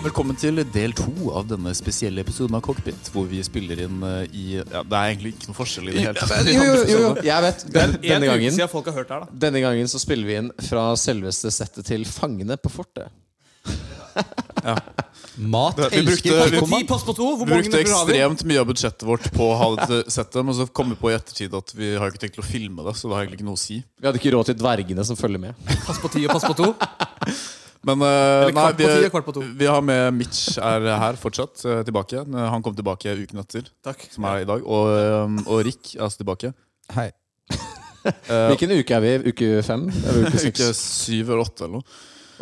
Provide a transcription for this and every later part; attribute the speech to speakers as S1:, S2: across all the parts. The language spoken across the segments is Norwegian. S1: Velkommen til del to av denne spesielle episoden av Cockpit, hvor vi spiller inn eh, i ja, Det er egentlig ikke noe forskjell i det hele tatt.
S2: Jo, jo, jo, jo. jeg vet. Den,
S3: En
S2: denne,
S3: uke
S2: gangen,
S3: siden folk har hørt det her, da.
S2: denne gangen så spiller vi inn fra selveste settet til Fangene på fortet.
S4: Mat
S1: Det- vi brukte-
S4: elsker
S1: vi-
S3: Ti
S4: narkoman.
S3: Post på to,
S1: Vi
S3: hvor mange
S1: brukte
S3: minutter har vi?
S1: ekstremt mye av budsjettet vårt på å ha dette settet, men så kom vi på i ettertid at vi har ikke tenkt til å filme det, så det har egentlig ikke noe å si.
S2: Vi hadde ikke råd til dvergene som følger med.
S3: Pass på ti og pass på to.
S1: Men eh,
S3: Eller kvart
S1: nei,
S3: på ti og
S1: vi,
S3: kvart på to.
S1: vi har med Mitch er her fortsatt, eh, tilbake. Han kom tilbake uken etter,
S3: Takk.
S1: som er i dag. Og, eh, og Rick er også tilbake.
S4: Hei.
S1: Eh,
S2: Hvilken uke er vi? i? Uke fem? Eller uke
S1: uke
S2: seks?
S1: syv eller åtte eller noe.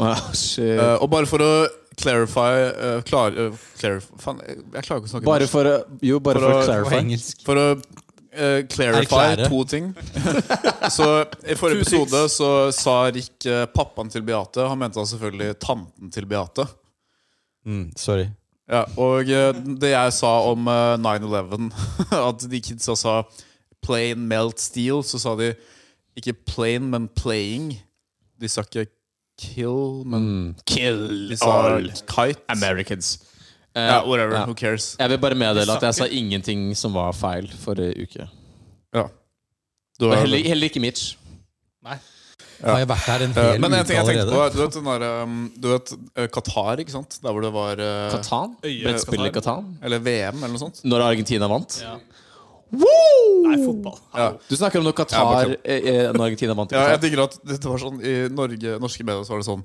S2: Wow, shit.
S1: Eh, og bare for å clarify, eh, klar, eh, clarif Faen, jeg, jeg klarer ikke å snakke
S2: Bare
S1: norsk.
S2: for å Jo, bare
S1: For
S2: for
S1: å-
S2: å
S4: På
S2: clarify.
S4: engelsk.
S1: For å eh, clarify
S4: Erklære.
S1: to ting. så I forrige
S3: Two
S1: episode så sa Rick eh, pappaen til Beate. Han mente da selvfølgelig tanten til Beate.
S4: Mm, sorry.
S1: Ja, og eh, det jeg sa om eh, 9-11, at de kidsa sa 'plain melt steel', så sa de ikke 'plain', men 'playing'. De sa ikke 'kill', men
S2: Mm. Kill
S1: de sa 'kite'.
S2: Americans. Eh,
S1: Ja, whatever,
S2: ja.
S1: who cares
S2: Jeg vil bare meddele at jeg sa ingenting som var feil forrige uke.
S1: Du
S2: Og
S1: er-
S2: heller, heller ikke Mitch.
S4: Har jeg vært her en
S1: Eh,
S4: hel
S1: men en ting
S4: uke
S1: jeg tenkte på
S4: allerede?
S1: er, Du vet, den der, um, du vet eh, Qatar, ikke sant? Der hvor det var eh,
S2: Katan?
S3: Øye-
S2: Brettspillet Katan?
S1: Eller VM, eller noe sånt.
S2: Når Argentina vant?
S3: Ja.
S2: Woo!
S3: Nei, fotball.
S1: Ja.
S2: Du snakker om når
S1: Ja,
S2: Qatar eh, eh, Når Argentina vant i
S1: Ja, jeg
S2: Qatar.
S1: tenker at det var sånn I Norge, norske medier så var det sånn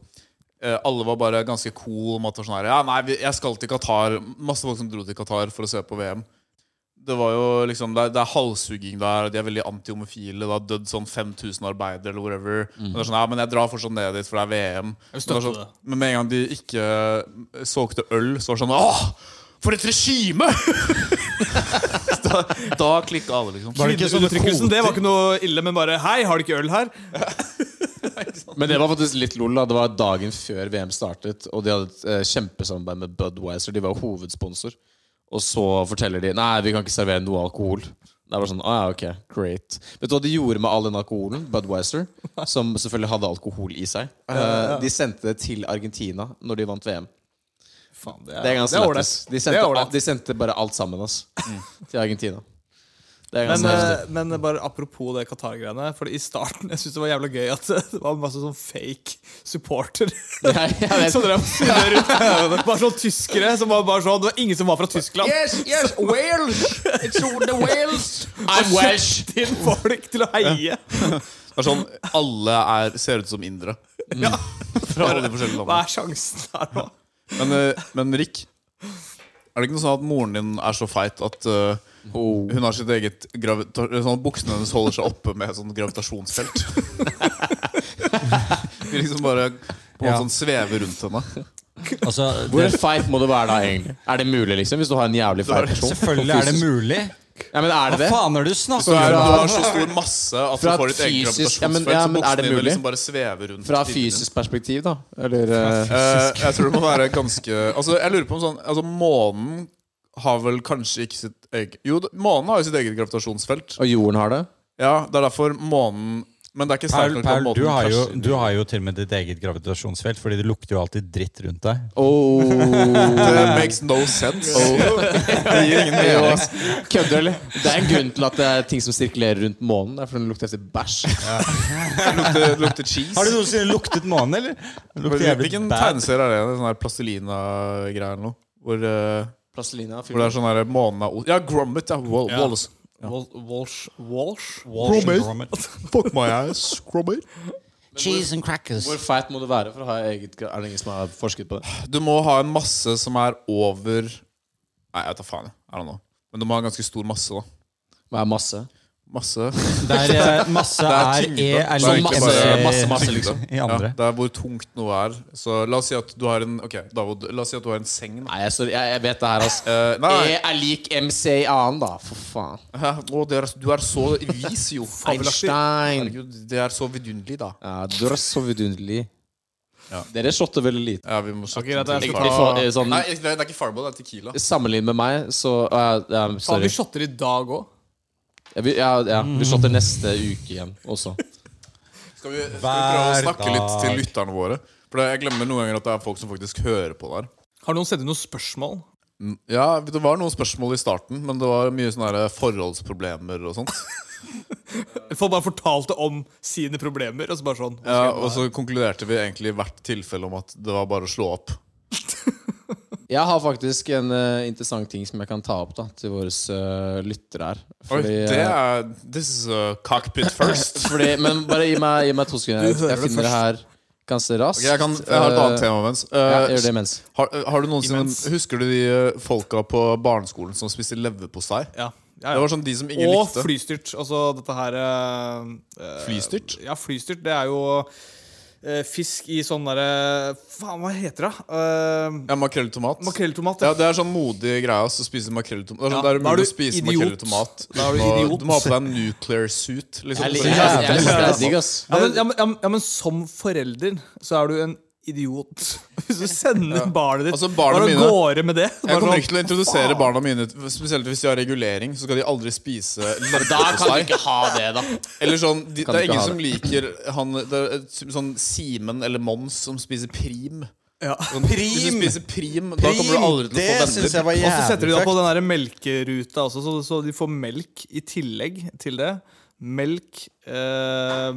S1: eh, Alle var bare ganske cool om at det var sånn her Ja, nei, vi- jeg skal til Qatar. Masse folk som dro til Qatar for å se på VM. Det var jo liksom Det er, det er halshugging der, de er veldig antihomofile. Det har dødd sånn 5000 arbeidere eller whatever. Men det er sånn, ja, men jeg drar fortsatt ned dit, for det er VM.
S3: Jeg
S1: Men, det er
S3: støtter
S1: sånn,
S3: det.
S1: men med en gang de ikke eh, solgte øl, så var det sånn Åh! For et regime! da da klikka alle, liksom.
S4: Var det ikke sånne
S3: Kvinneundertrykkelsen, det var ikke noe ille, men bare Hei, har du ikke øl her?
S2: Men det var faktisk litt lol. da Det var dagen før VM startet, og de hadde et eh, kjempesamarbeid med Budwiser. De var jo hovedsponsor. Og så forteller de Nei, vi kan ikke servere noe alkohol. Det var sånn, ah, ja, ok, great Vet du hva de gjorde med all den alkoholen? Budwiser, som selvfølgelig hadde alkohol i seg. Eh, De sendte det til Argentina når de vant VM.
S3: Faen,
S2: Det er ganske
S3: ålreit.
S2: lættis. De,
S3: Det
S2: sendte
S3: er ålreit. Mm.
S2: alt- de sendte bare alt sammen ass, til Argentina. Det er ganske
S3: Men,
S2: heftig.
S3: eh, men bare apropos det Qatar-greiene. For i starten jeg synes det var jævla gøy at det var masse sånn fake supporter.
S2: Ja, jeg vet.
S3: Som drev og surret rundt. Bare sånn tyskere som var bare sånn Det var ingen som var fra Tyskland.
S2: Yes, yes, Wales! It's the Wales! I'm
S3: Og
S2: Welsh!
S3: kjøpte inn folk til å heie.
S1: Det er sånn, Alle er, ser ut som indere.
S2: Mm.
S1: Fra alle de forskjellige
S3: Hva
S1: landene.
S3: er sjansen her nå?
S1: Men, eh, men Rick, er det ikke noe sånn at moren din er så feit at eh,
S2: Oh.
S1: hun har sitt eget gravita sånn at Buksene hennes holder seg oppe med et sånt gravitasjonsfelt? De liksom bare på en måte
S4: Ja.
S1: sånn svever rundt henne.
S4: Altså,
S2: Hvor
S4: det,
S2: feit må du være da, egentlig? Er det mulig, liksom? Hvis du har en jævlig feit person?
S4: selvfølgelig er det mulig.
S2: Ja, men er det
S4: Hva
S2: det?
S4: faen er det du
S1: Du
S4: snakker
S1: er- du
S4: om?
S1: har så stor masse at du
S2: Fra
S1: får ditt eget
S2: fysisk- ja, men-
S1: gravitasjonsfelt.
S2: ja,
S1: Så
S2: men er det
S1: buksene dine
S2: mulig?
S1: liksom bare svever rundt.
S2: Fra
S1: finnen din.
S2: fysisk perspektiv, da? Eller eh,
S1: Eh, jeg tror det må være ganske Altså, jeg lurer på om sånn Altså, månen har vel kanskje ikke sitt eget Jo, det- månen har jo sitt eget gravitasjonsfelt.
S2: Og jorden har det?
S1: Ja, det er derfor månen Men det er ikke sterkt nok
S4: Perl,
S1: til at
S4: Perl,
S1: månen
S4: du, har jo,
S1: krasjer inn i-
S4: du har jo til og med ditt eget gravitasjonsfelt, Fordi det lukter jo alltid dritt rundt deg.
S2: Oh.
S1: Det makes no sense. Det gir ingen mening.
S2: Kødder, eller? Det er en grunn til at det er ting som sirkulerer rundt månen. Det er fordi den lukter etter bæsj.
S1: Det lukter, det lukter cheese.
S4: Har du noensinne luktet månen, eller? Det lukter jævlig
S1: Hvilken
S4: bad.
S1: tegneserie er det? En Sånn her plastelina-greie eller noe? Hvor, eh,
S2: Plastelina
S1: hvor det er sånn her månen er o- Ja, Grommet, ja. Wall,
S3: Ja.
S1: Wallace.
S3: Wal- Walsh Walsh?
S4: Walsh and
S1: Promise.
S4: Gromit.
S1: Fuck my ass, Grommet.
S4: Cheese and crackers.
S2: Hvor feit må du være for å ha eget Er det ingen som har forsket på det?
S1: Du må ha en masse som er over Nei, jeg tar faen. jeg. I don't know. Men du må ha en ganske stor masse, da.
S2: Hva er masse?
S1: Masse.
S4: Der eh, masse er
S1: tyngde.
S4: E er
S1: Det er
S4: lik
S1: ikke
S4: MC
S1: bare-
S2: masse, masse,
S1: tyngde.
S2: liksom.
S4: i andre.
S1: Ja, det er hvor tungt noe er. Så la oss si at du har en Ok, David, la oss si at du har en seng. Da.
S2: Nei, jeg, sorry, jeg, jeg vet det her, altså.
S1: Eh, nei,
S2: E er lik MC i annen, da. For faen.
S1: Hæ? Å, det er, du er så vis, jo.
S2: Einstein.
S1: Herregud, det er så vidunderlig, da.
S2: Ja, du er så vidunderlig.
S1: Ja.
S2: Dere shotter veldig lite.
S1: Ja, vi må snakke
S3: greit, jeg skal
S2: Egentlig for, eh, sånn,
S1: Nei, det er ikke Fireball, det er Tequila.
S2: Sammenlignet med meg, så eh, ja,
S3: Faen,
S2: Sorry.
S3: vi shotter i dag òg.
S2: Ja, vi, ja, ja,
S1: Mm.
S2: vi shotter neste uke igjen også.
S1: Skal vi, skal vi prøve å
S4: Hver
S1: snakke litt
S4: dag.
S1: til lytterne våre? For det- jeg glemmer noen ganger at det er folk som faktisk hører på der.
S3: Har noen sendt inn noen spørsmål?
S1: Ja, Det var noen spørsmål i starten, men det var mye sånne her forholdsproblemer og sånt.
S3: Folk bare fortalte om sine problemer, og så bare sånn.
S1: Ja, Og så konkluderte vi egentlig i hvert tilfelle om at det var bare å slå opp.
S2: Jeg har faktisk en eh, interessant ting som jeg kan ta opp da til våre eh, lyttere her.
S1: Oi,
S2: Fordi,
S1: det
S2: eh,
S1: er This is a cockpit first.
S2: fordi, men bare gi meg, gi meg to sekunder. Jeg,
S3: Du hører
S2: jeg
S3: det
S2: finner det her ganske raskt.
S1: Ok, jeg, kan, jeg har et annet
S2: Eh,
S1: tema imens.
S2: Ja,
S1: Eh,
S2: gjør det imens.
S1: har, har du noensinne
S3: Imens.
S1: Husker du de eh, folka på barneskolen som spiste leverpostei?
S3: Ja. Ja,
S1: Det
S3: ja.
S1: var sånn de som ingen
S3: og
S1: likte.
S3: flystyrt. Altså dette her eh,
S1: Flystyrt?
S3: eh, Ja, flystyrt. Det er jo eh, fisk i sånn derre Faen, hva heter det? Uh,
S1: Ja, makrell i tomat.
S3: Makrelltomat.
S1: Ja, det er sånn modig greie ass, å spise makrell i tomat. Det er, sånn,
S3: Ja,
S1: det er
S3: da er
S1: umulig
S3: du
S1: å spise
S3: idiot.
S1: makrell i tomat.
S3: Da er du
S1: uten å-
S3: idiot.
S1: Du må ha på deg en nuclear suit. Liksom.
S2: Jeg,
S1: Så-
S2: jeg, jeg, jeg, jeg, synes det er digg, ass.
S3: Ja, men, ja, men, ja, men- ja, men som forelder så er du en idiot. Hvis du sender barnet ditt
S1: Altså, barna
S3: bare av
S1: mine-
S3: gårde med det
S1: Jeg kommer
S3: bare sånn,
S1: ikke til å introdusere barna mine Spesielt hvis de har regulering. Så skal de aldri spise leverpostei.
S2: ikke ha det, da.
S1: Eller sånn, de,
S2: Kan
S1: det er
S2: ikke
S1: ingen
S2: ha
S1: som liker han Det er et sånn Simen eller Mons som spiser prim.
S3: Ja.
S1: Sånn, Hvis du
S4: Prim!
S1: spiser prim, da kommer du aldri til å få
S4: det
S1: venner.
S4: syns jeg var
S3: Og så
S4: jævlig
S3: setter de da på den der melkeruta også, så, så de får melk i tillegg til det. Melk, eh,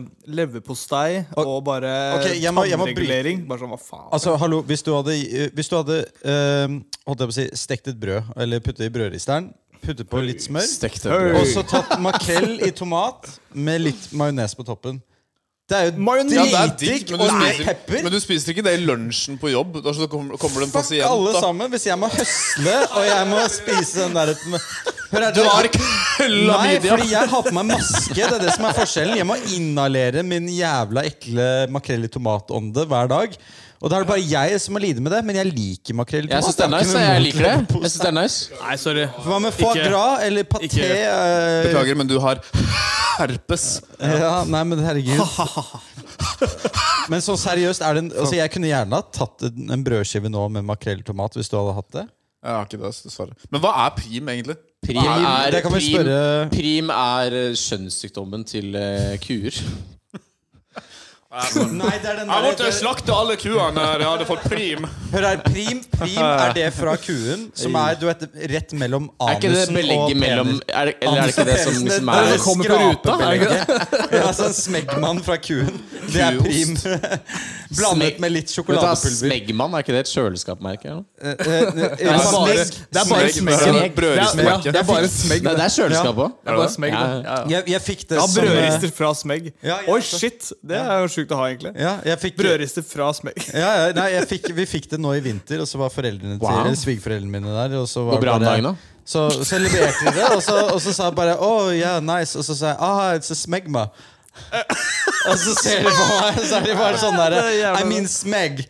S3: leverpostei og, bare
S4: Ok, jeg må- jeg må
S3: tannregulering. Bare sånn, hva faen?
S4: Altså, hallo, Hvis du hadde, eh, hvis du hadde eh, holdt jeg på å si, stekt et brød, eller puttet i brødristeren, puttet på litt smør,
S2: Stekte
S3: Hey.
S2: brød.
S4: og så tatt makrell i tomat med litt majones på toppen Det er jo
S3: Majones-
S1: Ja, det er digg,
S4: dritdigg
S1: men
S4: og
S1: du,
S4: med
S1: spiser,
S4: pepper.
S1: men du spiser ikke det i lunsjen på jobb. Da så kommer, kommer det en
S4: Fuck
S1: pasient
S4: alle
S1: da.
S4: sammen hvis jeg må høsle og jeg må spise den der Hør her,
S1: Du
S4: det-
S1: har
S4: Nei,
S1: klamydia!
S4: fordi jeg har på meg maske. Det er det som er forskjellen. Jeg må inhalere min jævla ekle makrell i tomatånde hver dag. Og da er det bare jeg som må lide med det, men jeg liker makrell i
S2: Jeg
S4: tomat.
S2: syns det er
S4: Jeg har ikke
S2: nice.
S4: noe
S2: Jeg, jeg
S4: imot
S2: liker det. Jeg
S4: leverpostei.
S2: synes det er nice
S3: Nei, sorry.
S4: Hva med foie
S3: Ikke-
S4: gras eller paté?
S3: ikke-
S4: eh,
S1: Beklager, men du har herpes.
S4: Ja, nei, men herregud. Men sånn seriøst, er det en, altså jeg kunne gjerne ha tatt en en brødskive nå med makrell i tomat hvis du hadde hatt det.
S1: Jeg har ikke det, dessverre. Men hva er prim, egentlig?
S2: Prim
S4: Nei,
S2: er,
S4: det kan vi
S2: prim,
S4: spørre-
S2: prim er eh, kjønnssykdommen til eh, kuer.
S4: Nei, det er den
S1: slakte alle kuene jeg hadde fått prim.
S4: Hør her, prim, prim er det fra kuen som er du vet, rett mellom anusen og
S2: Er ikke det belegget mellom er det, Eller er det ikke det som, som
S4: Det
S2: er
S4: er
S3: det som kommer på ruta, er det ikke
S4: Ja, altså en smeggmann fra kuen. Det er prim. Blandet med litt sjokoladepulver. Eh,
S2: Smegman, er ikke det et kjøleskapmerke? eller noe?
S4: Det
S3: Det er bare, det er bare
S1: Smegg.
S3: smegg.
S1: Smegg. Brødristmerke.
S3: Det er- ja, det er bare smegg.
S2: Nei, det
S3: Det
S2: er kjøleskap òg.
S3: er bare smegg, da. Ja, ja.
S4: Jeg, jeg fikk det
S3: Ja,
S4: som eh,
S3: brødrister fra smegg.
S4: Ja, ja,
S3: Oi,
S4: så-
S3: shit! Det er jo sjukt å ha, egentlig.
S4: ja, jeg fikk,
S3: Brødrister fra smegg.
S4: ja, ja, nei, jeg fikk, vi fikk det nå i vinter, og så var foreldrene til
S2: Wow.
S4: eller svigerforeldrene mine der. Og så var
S2: Går bra om
S4: bare-
S2: dagen, da?
S4: Så, så leverte de det, og så, og så sa jeg bare oh, yeah, nice. Og så sa jeg ah, it's a smegma. og så ser de på meg, og så er de bare sånn
S3: Det er
S4: derre
S3: jævla-
S4: I mean smeg.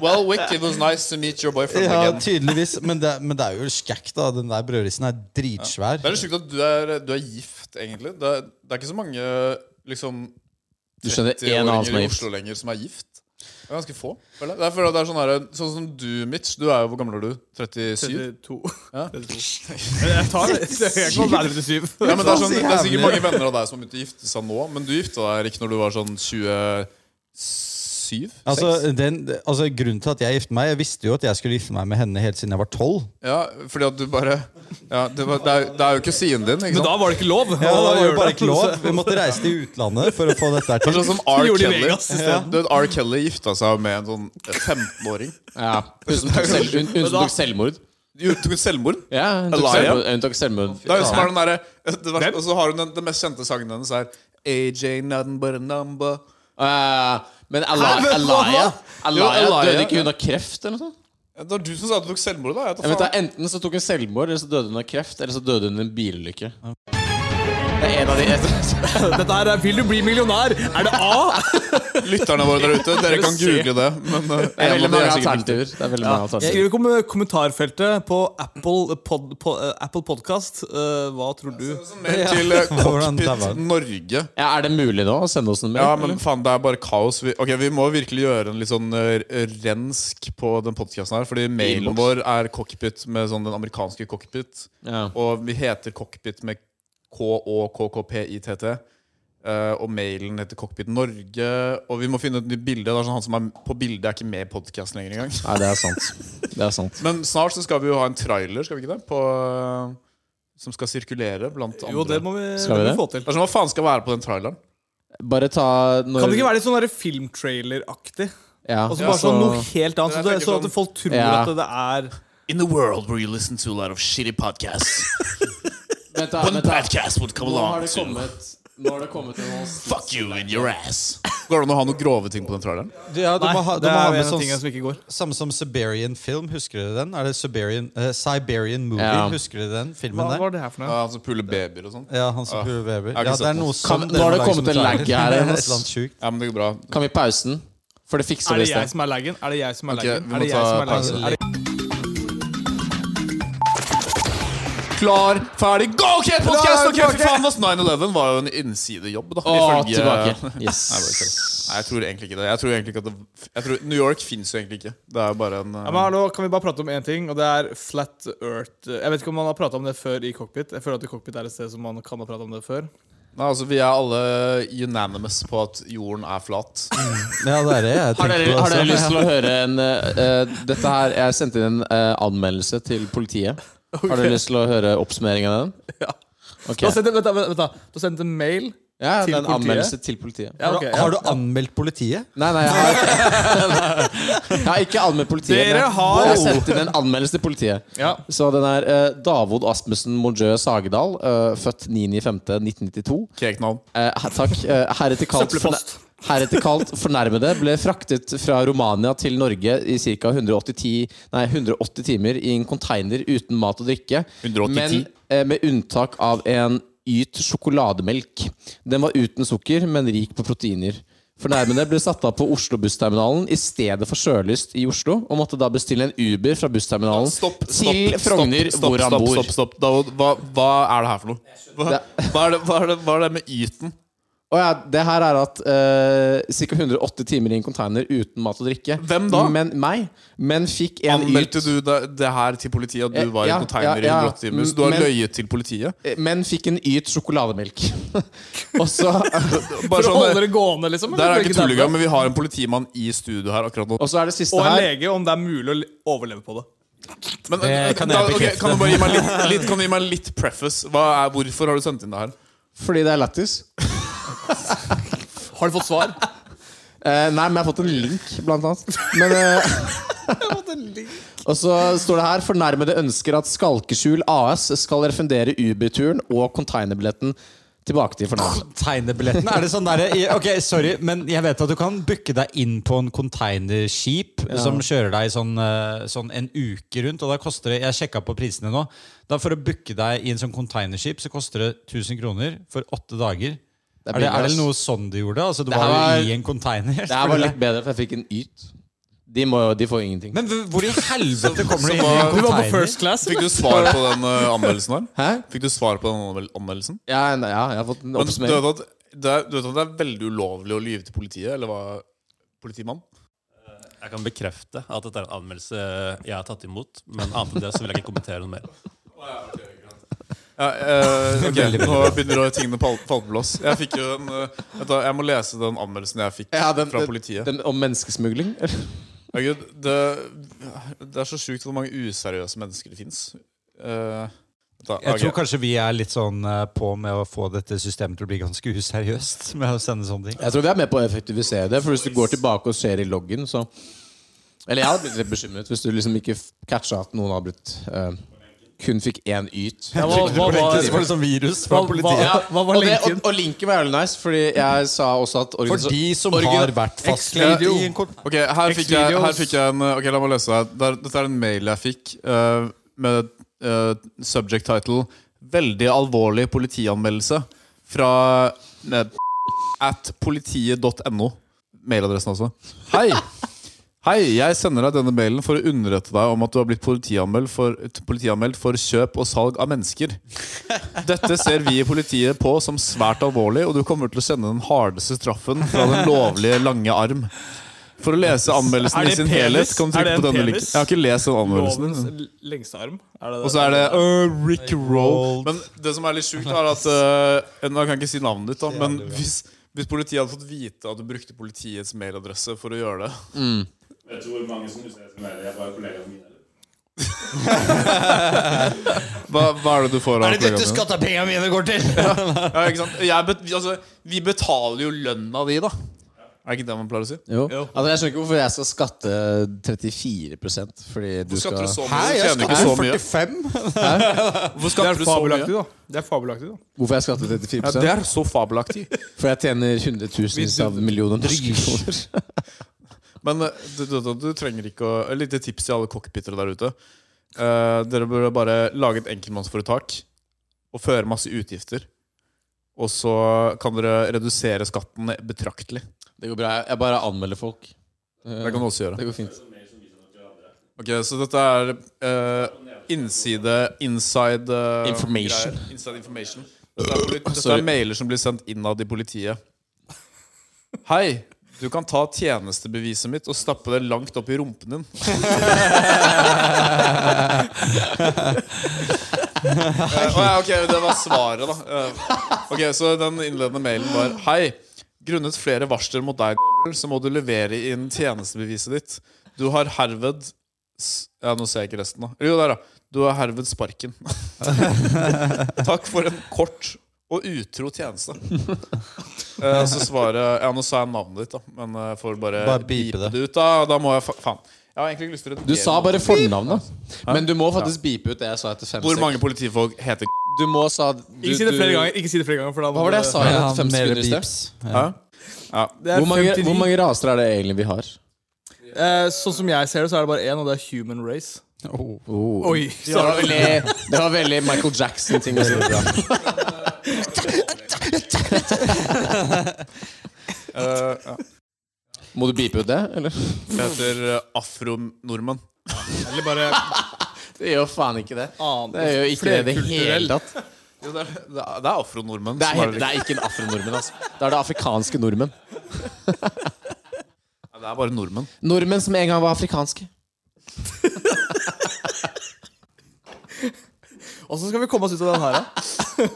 S1: Well, Wick, it was nice to meet your boyfriend
S4: Ja,
S1: again.
S4: tydeligvis. Men det, men det er jo skækk, da. Den der brødristen er dritsvær.
S1: Det er litt sjukt at du er, du er gift, egentlig. Det er, det er ikke så mange liksom,
S2: Du skjønner én annen som
S1: 30-åringer i
S2: er gift.
S1: Oslo lenger som er gift. Det er ganske få. føler jeg. Det er, fordi det er sånn, her, sånn som du, Mitch. Du er jo, Hvor gammel er du? 37?
S3: 32.
S1: Ja.
S3: 32. Jeg tar det. Jeg kan være 37.
S1: Ja, men det, er
S4: Så
S1: sånn, det er
S4: jævlig.
S1: sikkert mange venner av deg som har begynt å gifte seg nå, men du gifta deg ikke når du var sånn 27?
S4: Altså, den, altså Grunnen til at jeg giftet meg Jeg visste jo at jeg skulle gifte meg med henne helt siden jeg var tolv.
S1: Ja, fordi at du bare ja, det, var, det, er, det er jo ikke siden din, ikke
S3: Men da
S1: sant?
S3: var det ikke lov.
S4: Ja,
S3: å
S4: det var jo
S3: gjøre
S4: bare ikke lov.
S3: Så-
S4: Vi måtte reise til utlandet for å få dette her
S1: Det er
S4: til.
S1: sånn som R.
S3: gjorde det i
S1: Kelly.
S3: Vegas i
S1: Ja. Du vet, R. Kelly gifta seg med en sånn 15-åring.
S2: Ja. Hun som tok selv- hun- hun som tok selvmord.
S1: Jo, Tok hun selvmord?
S2: Ja, hun tok
S1: Elia?
S2: selvmord. Hun tok selvmord.
S1: Det er jo som
S2: Ja.
S1: er den derre- eh, det verste- Og så har hun den, den mest kjente sangen hennes er AJ nothing but a number
S2: Eh, Men Eli-
S3: men hva?
S2: Elia Elia
S1: Jo, Elia,
S2: døde ikke
S1: ja.
S2: hun av kreft eller noe sånt?
S1: Det var du som sa at du tok selvmord, da. Jeg tar
S2: Jeg vet,
S1: faen.
S2: da, enten så tok hun selvmord, eller så døde hun av kreft, eller så døde hun i en bilulykke. Det er en av de
S3: Dette her er 'Vil du bli millionær?' Er det A?
S1: Lytterne våre der ute, dere kan google det. Men uh,
S2: Det er
S1: en
S2: veldig
S1: av de
S2: mange
S1: er sikkert riktig.
S2: alternativer. Det er veldig mange alternativer.
S3: Skriv i kom- kommentarfeltet på Apple, pod, po, eh, Apple Podcast. eh, hva tror du?
S1: Så mer til uh,
S4: Hvordan daua
S1: Cockpit
S4: den?
S1: Norge.
S2: Ja, er det mulig nå å sende oss en mail?
S1: Ja, men
S2: eller?
S1: faen, det er bare kaos. Vi, ok, vi må virkelig gjøre en litt sånn uh, rensk på den podkasten her. Fordi mailen
S2: Inbox.
S1: vår er cockpit med sånn den amerikanske cockpit.
S2: Ja.
S1: Og vi heter cockpit med K-O-K-K-P-I-T-T. Eh, og mailen heter Cockpit Norge. Og vi må finne et nytt bilde. Det er sånn, han som er på bildet, er ikke med i podkasten lenger engang.
S2: Nei, det er sant. Det er sant.
S1: Men snart så skal vi jo ha en trailer, skal vi ikke det? På, eh, som skal sirkulere blant andre.
S3: Jo, det må vi,
S2: Skal
S3: det
S2: vi
S3: må
S2: det?
S3: vi få til.
S4: Altså-
S1: Det er sånn, Hva faen skal være på den traileren?
S2: Bare ta når
S3: Kan det ikke være litt sånn derre filmtrailer-aktig?
S2: Ja.
S3: Og så
S1: Ja,
S3: bare sånn
S2: så-
S3: noe helt annet,
S1: Jeg
S3: så, det,
S1: tenker
S3: så
S1: sånn-
S3: at folk tror
S2: Ja.
S3: at det er
S1: In the world where you listen to a lot of shitty podcasts.
S2: Vent da, vent da.
S1: podcast would come
S2: Nå har det kommet Nå har det kommet en sånn-
S1: Fuck you in your ass. Går det an å ha noen grove ting på den traileren?
S4: Du, ja, du
S3: Nei,
S4: må ha, du
S3: det
S4: må ha
S3: er
S4: med
S3: en av tingene
S4: sånn
S3: som ikke går.
S4: Samme som Siberian Film, husker dere den? Er det Siberian, eh, Siberian Movie,
S2: Ja.
S4: husker dere den filmen
S3: Hva
S4: der?
S3: var det her for noe?
S1: Ja, altså Puler babyer og sånn.
S4: Ja, han som
S1: Ah,
S4: puler Weber.
S1: jeg har ikke
S4: Ja, det
S1: sett
S4: er noe
S1: den.
S4: som
S2: Kan-
S4: dere
S2: nå har det
S4: lager
S2: kommet
S4: som
S2: en lag
S4: trailer.
S2: her,
S4: Det er
S2: Jonas.
S4: Et eller annet sjukt.
S1: Ja, men det går bra.
S2: Kan vi pause den? For det fikser vi
S3: Er
S2: i
S3: det jeg
S2: sted.
S3: som er laggen? Er det jeg som er
S1: Ok,
S3: laggen?
S1: vi må
S3: Er det
S1: ta
S3: jeg som er
S1: pause.
S3: laggen? Er det-
S1: Klar, ferdig, go! Ok, podcast!
S4: Klar,
S1: Ok, fy
S4: tilbake!
S1: faen, ass, 9-11 var jo en innsidejobb, da.
S2: Å,
S1: ifølge-
S2: tilbake.
S1: Nei, bare
S2: Yes.
S1: kødd. Nei, jeg tror egentlig ikke det. Jeg tror egentlig ikke at det jeg tror, New York fins jo egentlig ikke. Det er jo bare en eh,
S3: Ja, men hallo, Kan vi bare prate om én ting, og det er flat earth. Jeg vet ikke om man har prata om det før i cockpit. Jeg føler at i cockpit er et sted som man kan ha prata om det før.
S1: Nei, altså Vi er alle unanimous på at jorden er flat.
S4: Ja, det er det jeg
S2: Har
S4: tenker
S2: dere,
S4: på.
S2: Altså, har dere
S4: også.
S2: lyst til å høre en eh, eh, Dette her, Jeg sendte inn en eh, anmeldelse til politiet. Har dere lyst til å høre oppsummeringen av den?
S3: Ja.
S2: Ok.
S3: Du har sendt, en- vent, da, vent, da. Du har sendt en mail.
S2: Ja, det
S3: til
S2: er en
S3: politiet?
S2: anmeldelse Altså, til politiet.
S3: Ja, ok,
S4: Har du-
S3: ja.
S4: Har du anmeldt politiet?
S2: Nei, nei, jeg har, jeg har ikke anmeldt politiet. men
S3: Dere
S2: jeg-
S3: har-
S2: Jeg sendte inn en anmeldelse til politiet.
S3: Ja.
S2: Så den er eh, Davod Asmussen Mojø Sagedal, eh, født 9.5.1992.
S1: Kekt navn.
S2: Eh, her- takk. Eh, heretter, kalt
S3: Søppelpost.
S2: forne- heretter kalt fornærmede ble fraktet fra Romania til Norge i ca. 180, nei, 180 timer i en container uten mat og drikke,
S1: 180?
S2: men eh, med unntak av en Yt sjokolademelk. Den var uten sukker, men rik på proteiner. Fornærmede ble satt av på Oslo bussterminalen i stedet for sjølyst i Oslo, og måtte da bestille en Uber fra bussterminalen
S1: Stopp, stopp,
S2: til
S1: stopp,
S2: Frogner,
S1: stopp,
S2: hvor han
S1: stopp,
S2: bor.
S1: Stopp, stopp, David, hva, hva er det her for noe? Hva, hva, er, det, hva, er, det, hva er det med yten?
S2: Og ja, det her er at uh, ca. 108 timer i en container uten mat og drikke.
S1: Hvem da?
S2: Men meg. Men fikk en
S1: Anmeldte
S2: yt
S1: du det, det her til politiet at
S2: Eh,
S1: du var i
S2: ja,
S1: en container
S2: ja, ja.
S1: i 180 timer? Så du har
S2: Men-
S1: løyet til politiet?
S2: eh, Men fikk en yt sjokolademelk. og så
S1: Bare
S3: For å holde
S1: sånn,
S3: det gående, liksom?
S1: der
S3: eller
S1: er ikke
S3: for
S1: tullinga,
S3: dempe?
S1: men vi har en politimann i studio her akkurat nå.
S2: Og så er det siste
S3: Og en
S2: her.
S3: lege, om det er mulig å le- overleve på det.
S1: Men, eh,
S4: Det kan jeg
S1: da- ok,
S4: bekrefte.
S1: kan du bare gi meg litt, litt, kan du gi meg litt preface? Hva er, hvorfor har du sendt inn det her?
S2: Fordi det er lættis.
S3: Har du fått svar?
S2: Eh, nei, men jeg har fått en link, blant annet. Men, eh, og så står det her Fornærmede ønsker at Skalkeskjul AS skal refundere Uber-turen og containerbilletten tilbake til fornærmede.
S4: Tegnebilletten? Er det sånn derre i- Ok, sorry, men jeg vet at du kan booke deg inn på en containerskip som kjører deg sånn, eh, sånn en uke rundt, og da koster det Jeg sjekka på prisene nå. Da For å booke deg i en sånn containerskip så koster det 1000 kroner for åtte dager.
S2: Det er
S4: Er, det, er
S2: billig,
S4: det
S2: ass.
S4: noe sånn de gjorde? Altså, du
S2: her
S4: var, jo
S2: var-
S4: i en container.
S2: Det her var litt bedre, for jeg fikk en yt. De, må, jo- de får ingenting.
S4: Men hvor- hvor i helvete kommer du inn i
S1: var-
S4: en
S3: Du var på
S4: container?
S3: first class?
S1: Fikk du svar på den eh, anmeldelsen her?
S2: Hæ?
S1: Fikk du svar på den anmel- anmeldelsen?
S2: Ja, nei, ja, jeg har fått
S1: Men
S2: en
S1: du vet,
S2: oppsummering.
S1: at det er, du vet at det er veldig ulovlig å lyve til politiet? Eller hva? Politimann?
S5: Jeg kan bekrefte at dette er en anmeldelse jeg har tatt imot, men annet enn det så vil jeg ikke kommentere noe mer.
S1: Ja, eh, ok, Nå begynner å- tingene å pal- falle på plass. Jeg fikk jo en eh, vent da, Jeg må lese den anmeldelsen jeg fikk
S2: Ja, den-
S1: fra
S2: den-
S1: politiet.
S2: Den om menneskesmugling?
S1: Ja, Gud, det, det er så sjukt hvor mange useriøse mennesker det Eh, fins.
S4: Jeg tror kanskje vi er litt sånn eh, på med å få dette systemet til å bli ganske useriøst. Med å sende sånne ting
S2: Jeg tror vi er med på å effektivisere det. For hvis du går tilbake og ser i loggen, så Eller jeg hadde blitt litt bekymret hvis du liksom ikke f- catcha at noen hadde blitt eh, Kun fikk én yt.
S3: Ja, hva, hva,
S4: Så var
S3: var,
S4: det sånn virus
S3: hva, hva, hva var
S2: og, det,
S3: linken?
S2: og, og linken var jævlig nice, fordi jeg sa også at
S4: For
S2: organisa-
S4: de som
S2: organ-
S4: har vært fastlege
S3: Ex-video.
S4: i en kort
S1: Ok, her fikk, jeg, her
S3: Xvideos.
S1: fikk jeg en Ok, la meg løse det. her. Der- Dette er en mail jeg fikk eh, med eh, subject title 'Veldig alvorlig politianmeldelse' fra eh, at politiet.no. Mailadressen, altså. Hei! Hei, jeg sender deg denne mailen for å underrette deg om at du har blitt politianmeldt for, politianmeldt for kjøp og salg av mennesker. Dette ser vi i politiet på som svært alvorlig, og du kommer til å kjenne den hardeste straffen fra den lovlige lange arm. For å lese anmeldelsen i
S3: Er det
S1: sin
S3: penis?
S1: helhet kan du
S3: Er det
S1: trykke
S3: en
S1: på denne
S3: penis?
S1: linken. Jeg har ikke lest den anmeldelsen.
S3: Lovens l- lengste arm? Er det det?
S1: Og så er det øh, Rick Roll. Men det som er litt sjukt, er at øh, Nå kan jeg ikke si navnet ditt, da, men hvis, hvis politiet hadde fått vite at du brukte politiets mailadresse for å gjøre det
S6: Vet du hvor mange som husker det som er Jeg var kollegaen min. eller?
S1: Hva, hva er det du får av kollegaene dine?
S2: skattepengene mine går til?!
S1: Ja, ikke sant? Jeg bet, vi- altså, vi betaler jo lønna di, da. Er ikke det man pleier å si?
S2: Jo. Altså, jeg skjønner ikke hvorfor jeg skal skatte 34 fordi du
S1: Hvorfor skatter du
S2: skal
S1: så mye?
S4: Hæ,
S1: Du
S4: jeg
S1: tjener ikke så
S4: skatter
S1: mye.
S4: 45!
S1: Hvorfor
S3: det
S1: skatter du
S3: er
S1: så mye?
S3: fabelaktig, da. Det er fabelaktig, da.
S2: Hvorfor jeg skatter 34
S1: Ja, det er så fabelaktig.
S2: For jeg tjener hundretusenvis av millioner norske kroner.
S1: Men eh, du, du, du, du trenger ikke å Et lite tips til alle cockpitere der ute. Eh, dere burde bare lage et enkeltmannsforetak og føre masse utgifter. Og så kan dere redusere skatten betraktelig.
S2: Det går bra. Jeg bare anmelder folk. Eh,
S1: Det kan du også gjøre.
S2: Det går fint.
S1: Ok, Så dette er eh, innside inside eh,
S2: Information.
S1: greier. Inside information. Dette er, polit- dette
S2: Sorry.
S1: er mailer som blir sendt innad i politiet. Hei, du kan ta tjenestebeviset mitt og stappe det langt opp i rumpen din. Eh, å ja, ok, det var svaret, da. Eh, ok, Så den innledende mailen var Hei. Grunnet flere varsler mot deg, så må du levere inn tjenestebeviset ditt. Du har herved s- Ja, nå ser jeg ikke resten, da. Jo, der, da. Du har herved sparken. Takk for en kort og utro tjeneste. Eh, så svaret Ja, nå sa jeg navnet ditt, da, men eh, får bare,
S4: Bare beepe det.
S1: ut, da. Da må jeg fa Faen. Jeg har egentlig ikke lyst til å
S2: Du
S1: redigere
S2: sa
S1: noe.
S2: bare fornavnet. Men du må faktisk beepe ut det jeg sa etter fem
S1: Hvor
S2: sek-
S1: mange politifolk heter
S2: Du må sa du,
S3: Ikke si det flere
S2: du-
S3: ganger. Ikke si det flere ganger for da
S2: Hva var det jeg sa igjen
S4: Ja,
S2: etter fem
S4: mer
S2: sekunder? i sted?
S4: beeps.
S1: Hæ?
S3: Det er
S2: Hvor mange,
S3: 59.
S2: hvor mange raser er det egentlig vi har?
S3: Eh, sånn som jeg ser det, så er det bare én, og det er human race.
S2: Oh.
S3: Oi,
S2: Det, var veldig, det var veldig Michael Jackson-ting å si.
S1: Eh, ja.
S2: Må du beepe ut det, eller?
S1: Det heter eh, afronordmenn.
S3: Eller bare
S2: Det gjør faen ikke det. Det
S3: annet.
S2: gjør ikke det i det hele tatt.
S1: Jo, det er, det er- det er afronordmenn.
S2: Det er,
S1: som
S2: helt, det er ikke en afronordmenn, altså. Det er det afrikanske nordmenn.
S1: Ja, det er bare nordmenn.
S2: Nordmenn som en gang var afrikanske.
S3: Og så skal vi komme oss ut av den her, da.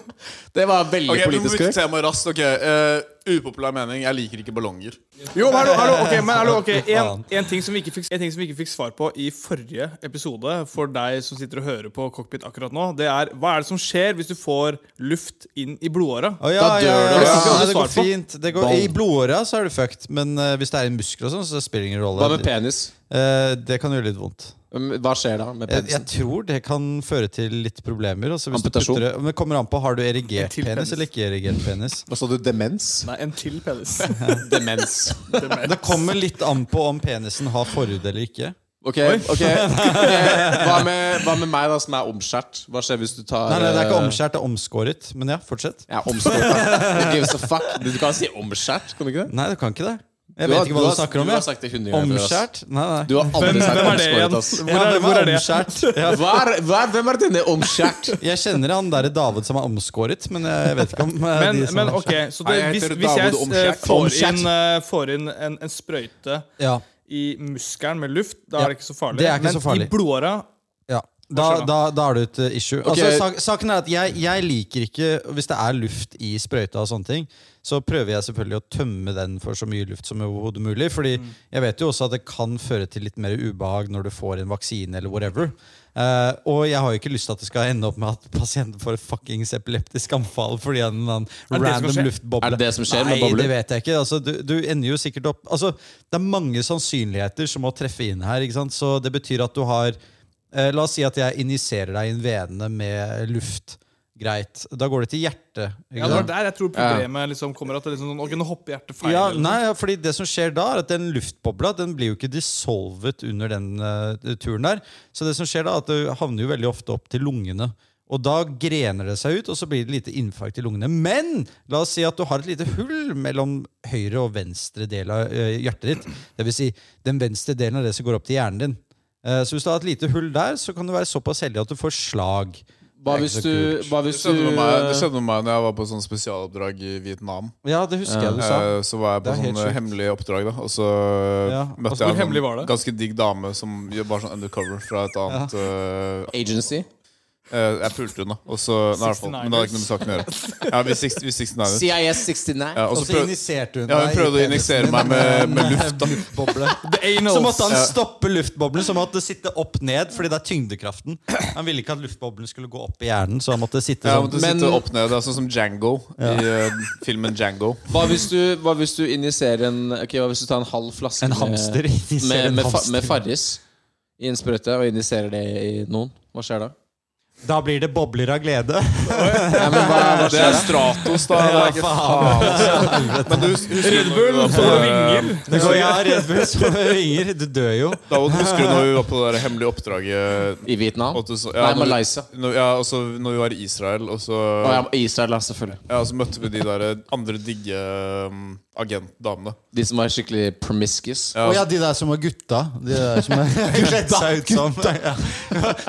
S2: Det var veldig
S1: Ok, vi må
S2: politisk
S1: bytte
S2: korrekt.
S1: tema raskt. ok eh, Upopulær mening. Jeg liker ikke ballonger.
S3: Jo, men hallo, hallo, ok, men hallo, ok en, en, ting som vi ikke fikk, en ting som vi ikke fikk svar på i forrige episode, for deg som sitter og hører på cockpit akkurat nå, det er hva er det som skjer hvis du får luft inn i blodåra?
S4: Å, ja,
S2: Da dør
S4: ja, ja,
S2: du.
S4: ja.
S3: Det skal vi
S4: Nei,
S3: også
S4: det går
S3: svare på.
S4: fint. Det går, I blodåra så er du fucked, men eh, hvis det er i muskler og sånn, så spiller det ingen rolle.
S2: Hva med penis?
S4: Eh, det kan gjøre litt vondt.
S2: Um, Hva skjer da med
S4: Eh, Jeg, jeg
S2: penisen?
S4: tror det kan føre til litt problemer. Altså hvis du
S2: Amputasjon?
S4: putter det, men det kommer an på Har du erigert
S3: Til
S4: penis
S3: penis.
S4: eller ikke erigert penis?
S2: Hva sa du? Demens?
S3: Nei, en til penis.
S2: Demens.
S4: Det kommer litt an på om penisen har forhud eller ikke.
S2: Ok, ok Eh, hva, med, hva med meg, da, som er omskjært? Hva skjer hvis du tar
S4: Nei, nei, Det er ikke
S2: eh,
S4: omskjært, det er omskåret. Men ja, fortsett.
S2: Ja, omskåret. Who gives a fuck? Du du kan si omskjært, kan du ikke det?
S4: Nei, du kan ikke det. Jeg
S2: Du
S4: vet
S2: har-
S4: ikke hva du
S2: har-
S4: snakker om.
S2: Du har
S4: Jeg.
S2: sagt det hundre ganger. før, ass.
S4: Omskjært? Nei, nei.
S2: Du har aldri sagt
S3: hvem er det
S2: omskåret,
S3: igjen?
S2: ass.
S4: Ja,
S3: Hvor er,
S4: hvem
S3: hvor er det?
S4: omskjært? Ja.
S2: Hva er, hva er, hvem er denne omskjært?
S4: Jeg kjenner han derre David som er omskåret, men jeg vet ikke om eh,
S3: Men,
S4: de som
S3: men
S4: er
S3: ok, så det,
S2: Nei, jeg
S3: hvis,
S2: heter
S3: hvis jeg
S2: David
S3: eh,
S2: Omskjær.
S3: får
S2: Omskjær.
S3: inn, eh, får inn en, en sprøyte
S4: ja.
S3: i muskelen med luft, da
S4: Ja,
S3: er det ikke så farlig.
S4: det er ikke
S3: Men
S4: så farlig.
S3: i blodåra
S4: Ja. Da,
S3: skjer da?
S4: da, da er det et eh, issue. Altså, sak, saken er at jeg, jeg liker ikke Hvis det er luft i sprøyta, og sånne ting så prøver jeg selvfølgelig å tømme den for så mye luft som overhodet mulig. Fordi
S3: Mm.
S4: jeg vet jo også at det kan føre til litt mer ubehag når du får en vaksine. eller whatever Eh, Og jeg har jo ikke lyst til at det skal ende opp med at pasienten får et fuckings epileptisk anfall fordi en
S3: Er
S4: eller annen
S3: det det som
S4: random
S3: skjer?
S4: luftboble.
S2: Er det det som skjer
S4: Nei,
S2: med bobler?
S4: det vet jeg ikke. Altså, du, du ender jo sikkert opp altså, Det er mange sannsynligheter som må treffe inn her. Ikke sant? Så det betyr at du har eh, La oss si at jeg injiserer deg inn venene med luft. Greit. Da går det til hjertet.
S3: ja, det
S4: Ikke
S3: er
S4: sant?
S3: der jeg tror problemet liksom kommer. At det liksom, sånn, ok, nå hopper hjertet feil.
S4: Ja,
S3: eller noe
S4: nei, ja, fordi det som skjer da, er at den luftbobla Den blir jo ikke dissolvet under den eh, turen der. Så det som skjer da, er at det havner jo veldig ofte opp til lungene. Og da grener det seg ut, og så blir det lite infarkt i lungene. Men la oss si at du har et lite hull mellom høyre og venstre del av eh, hjertet ditt. Det vil si den venstre delen av det som går opp til hjernen din. Eh, så hvis du har et lite hull der, så kan du være såpass heldig at du får slag.
S2: Hva
S4: Det er
S2: hvis
S4: ikke så
S2: du,
S4: kult.
S2: hva
S1: Det
S2: hvis
S1: skjedde med meg, det
S2: du
S1: skjedde med meg når jeg var på sånn spesialoppdrag i Vietnam.
S4: Ja, det husker jeg du sa.
S1: Eh, Så var jeg
S4: Det
S1: på
S4: er helt
S1: sånn
S4: sjukt.
S1: hemmelig oppdrag, da. Og så
S4: Ja.
S1: møtte
S3: hvor
S1: jeg en
S3: hemmelig var det?
S1: sånn ganske digg dame som gjør bare sånn undercover fra et annet eh,
S2: Agency?
S1: eh, Jeg pulte henne, da. Og så, nei, i hvert fall, men det hadde ikke noe med saken å gjøre. Ja, vi 60, vi 69ers.
S2: CIS 69?
S1: Ja, og
S4: Og
S1: så
S4: så
S1: prøv,
S4: injiserte hun
S1: Ja, hun
S4: deg Altså, i
S1: prøvde å
S4: penisen
S1: injisere
S4: din
S1: meg med- med luft, da.
S4: luftboble.
S3: Anal.
S4: Så måtte han
S1: Ja.
S4: stoppe luftboblen, så måtte det sitte opp ned, fordi det er tyngdekraften. Han ville ikke at luftboblen skulle gå opp i hjernen, så han måtte sitte
S1: jeg
S4: sånn.
S1: måtte
S2: Men-
S1: sitte opp ned. Det er sånn som Django i eh, filmen Django.
S2: Hva hvis du, hva hvis du injiserer en Ok, hva hvis du tar en halv flaske
S4: En
S2: med-
S4: hamster injiserer
S2: med,
S4: en
S2: med, fa-
S4: hamster.
S2: med Farris i en sprøyte og injiserer det i noen? Hva skjer da?
S4: Da blir det bobler av glede.
S2: Nei, men hva, hva
S1: Det er
S2: skjer da?
S1: Stratos, da. Det er ikke faen. altså. Men du husker du når vi var på det-
S4: Det går ja, Red Bull som ringer. Du dør jo.
S1: Da husker du når vi var på det der hemmelige oppdraget
S2: I Vietnam?
S1: og at du så-
S2: Nei,
S1: når vi-
S2: Malaysia.
S1: Når, ja, og så når vi var i Israel, og så,
S2: Å, ja, Israel, da, selvfølgelig.
S1: ja, og så møtte vi de der andre digge um, agentdamene.
S2: De som var skikkelig promiscuous.
S1: Ja,
S4: Å ja, de der som var gutta. De der som er kledd seg ut som ja.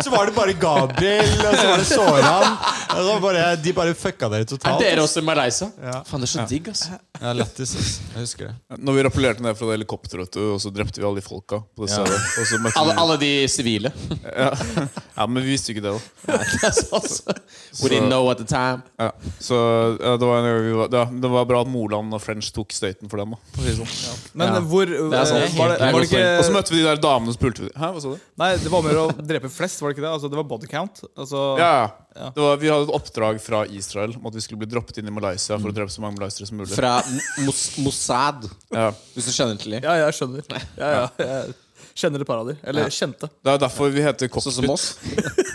S4: Så var det bare Gabriel, og så var det Soran. Og så bare, de bare fucka dere
S2: Er
S4: totalt.
S2: dere også i Malaysia? Faen, det er så digg, altså.
S4: Ja, lættis. ass. Jeg husker det.
S1: altså, Når vi rappellerte ned fra det helikopteret, vet du, og så drepte vi alle de folka. På det stedet. Og så møtte
S2: Alle,
S1: vi,
S2: alle de sivile.
S1: ja, Men vi visste jo ikke det, da.
S2: We didn't know at the time.
S1: Ja. Så ja, det, var en, gang vi var- ja, det var bra at Moland og French tok støyten for dem. da for å si det sånn.
S3: Men
S2: Ja.
S3: hvor
S2: er sant.
S3: eh, var, det, var det
S1: Og så
S3: ikke
S1: møtte vi de der damene som pulte. Hæ, hva sa du?
S3: Nei, det var mer å drepe flest, var det ikke det? Altså, det var body count. Altså,
S1: Ja, ja. Det var, vi hadde et oppdrag fra Israel om at vi skulle bli droppet inn i Malaysia for å drepe så mange malaysere som mulig.
S2: Mm. Fra Mo- Mos Mossad,
S1: Ja.
S2: hvis du kjenner til dem.
S3: ja, jeg skjønner. Ja, ja, jeg kjenner et par av de. Eller kjente.
S1: Det er derfor vi heter
S2: Sånn som oss.
S1: Cockpit.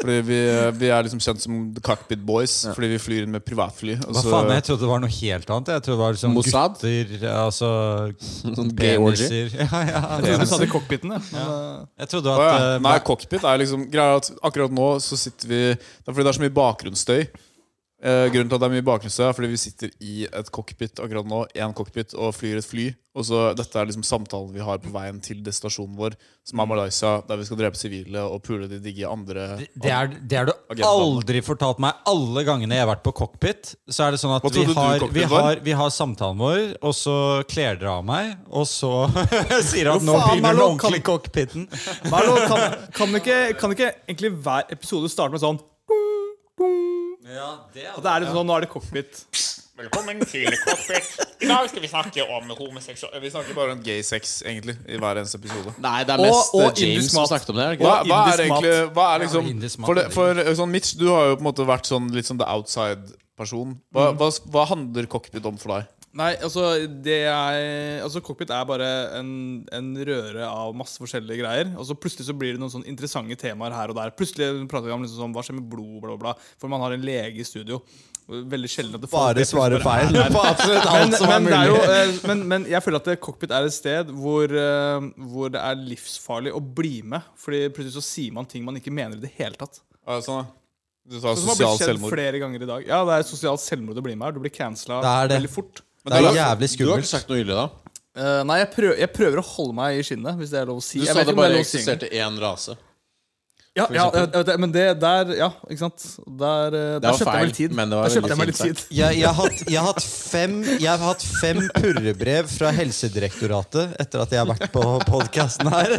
S1: Fordi vi, vi er liksom kjent som The Cockpit Boys fordi vi flyr inn med privatfly. og
S4: Hva
S1: så-
S4: faen, Jeg trodde det var noe helt annet. Jeg trodde det var liksom
S2: Mossad?
S4: gutter altså,
S2: Sånn gay orgy.
S4: peniser. Ja, ja.
S3: Jeg trodde du sa det i cockpiten, ja. Men, eh,
S4: Jeg trodde
S1: Å,
S4: at
S1: ja.
S4: eh,
S1: Nei, cockpit er liksom greia er at akkurat nå så sitter vi Det er fordi det er så mye bakgrunnsstøy. Eh, grunnen til at det er mye bakgrunnsstøy, er fordi vi sitter i et cockpit akkurat nå. En cockpit og flyr et fly. Og så Dette er liksom samtalen vi har på veien til destinasjonen vår, som er
S2: Mm.
S1: Malaysia, der vi skal drepe sivile og pule de digge andre
S4: Det er, det har du
S1: Agenda.
S4: aldri fortalt meg. Alle gangene jeg har vært på cockpit, så er det sånn at
S1: Hva
S4: vi
S1: trodde du
S4: har,
S1: cockpit
S4: vi,
S1: var?
S4: har, vi har samtalen vår, og så kler dere av meg, og så sier
S3: Jo,
S4: han nå
S3: faen,
S4: begynner den
S3: hallo, kan-
S4: ordentlige cockpiten.
S3: Hva er det, kan, kan, ikke, kan ikke egentlig hver episode starte med sånn At det er litt sånn, Nå er det cockpit.
S7: Velkommen til Cockpit. I dag skal vi snakke om homoseksual...
S1: Vi snakker bare om gay sex, egentlig, i hver eneste episode.
S2: Nei, det er
S3: Og-
S2: mest
S3: og
S2: eh,
S3: indisk
S2: James som
S3: mat.
S2: snakket om det. er det ikke?
S1: Hva, hva
S3: indisk
S1: er
S3: mat.
S1: egentlig hva er liksom,
S4: Ja, indisk mat,
S1: For, det,
S4: det er
S1: for eh, sånn Mitch, du har jo på en måte vært sånn litt sånn the outside-person. Hva, hva, hva handler cockpit om for deg?
S3: Nei, altså det er Altså Cockpit er bare en, en røre av masse forskjellige greier. Og så plutselig så blir det noen sånn interessante temaer her og der. Plutselig prater vi om liksom sånn, hva skjer med blod, bla, bla, bla. For man har en lege i studio. Veldig sjelden at det folk-
S4: Bare
S3: det plutselig
S4: svare feil på absolutt
S3: men,
S4: alt som er
S3: men, det er jo,
S4: mulig.
S3: eh, men, men jeg føler at det- cockpit er et sted hvor, eh, hvor det er livsfarlig å bli med. Fordi plutselig så sier man ting man ikke mener i det hele tatt.
S1: Ja, sånn, da. du tar
S3: Sånn som har
S1: sosial
S3: blitt skjedd
S1: selvmord.
S3: flere ganger i dag. Ja, det er sosialt selvmord å bli med her. Du blir cancela
S4: Det er det.
S3: veldig fort.
S1: Men
S4: Det
S1: det
S4: er
S1: er-
S4: jævlig
S2: Du har ikke
S4: skummelt.
S2: sagt noe ille, da?
S3: Eh, nei, jeg prøver, jeg prøver å holde meg i skinnet, hvis det er lov å si.
S2: Du
S3: Jeg
S2: sa
S3: vet
S2: det
S3: ikke om det er
S2: bare
S3: lov å si engang.
S2: eksisterte én rase.
S3: Ja, ja jeg, jeg vet det, men det der Ja, ikke sant. Der, eh, der
S2: var
S3: kjøpte jeg
S2: feil,
S3: meg litt tid.
S2: men det var
S3: der kjøpte
S2: veldig
S3: jeg meg litt
S2: fint
S3: tid.
S4: Jeg, jeg, har hatt, jeg, har hatt fem, jeg har hatt fem purrebrev fra Helsedirektoratet etter at jeg har vært på podkasten her.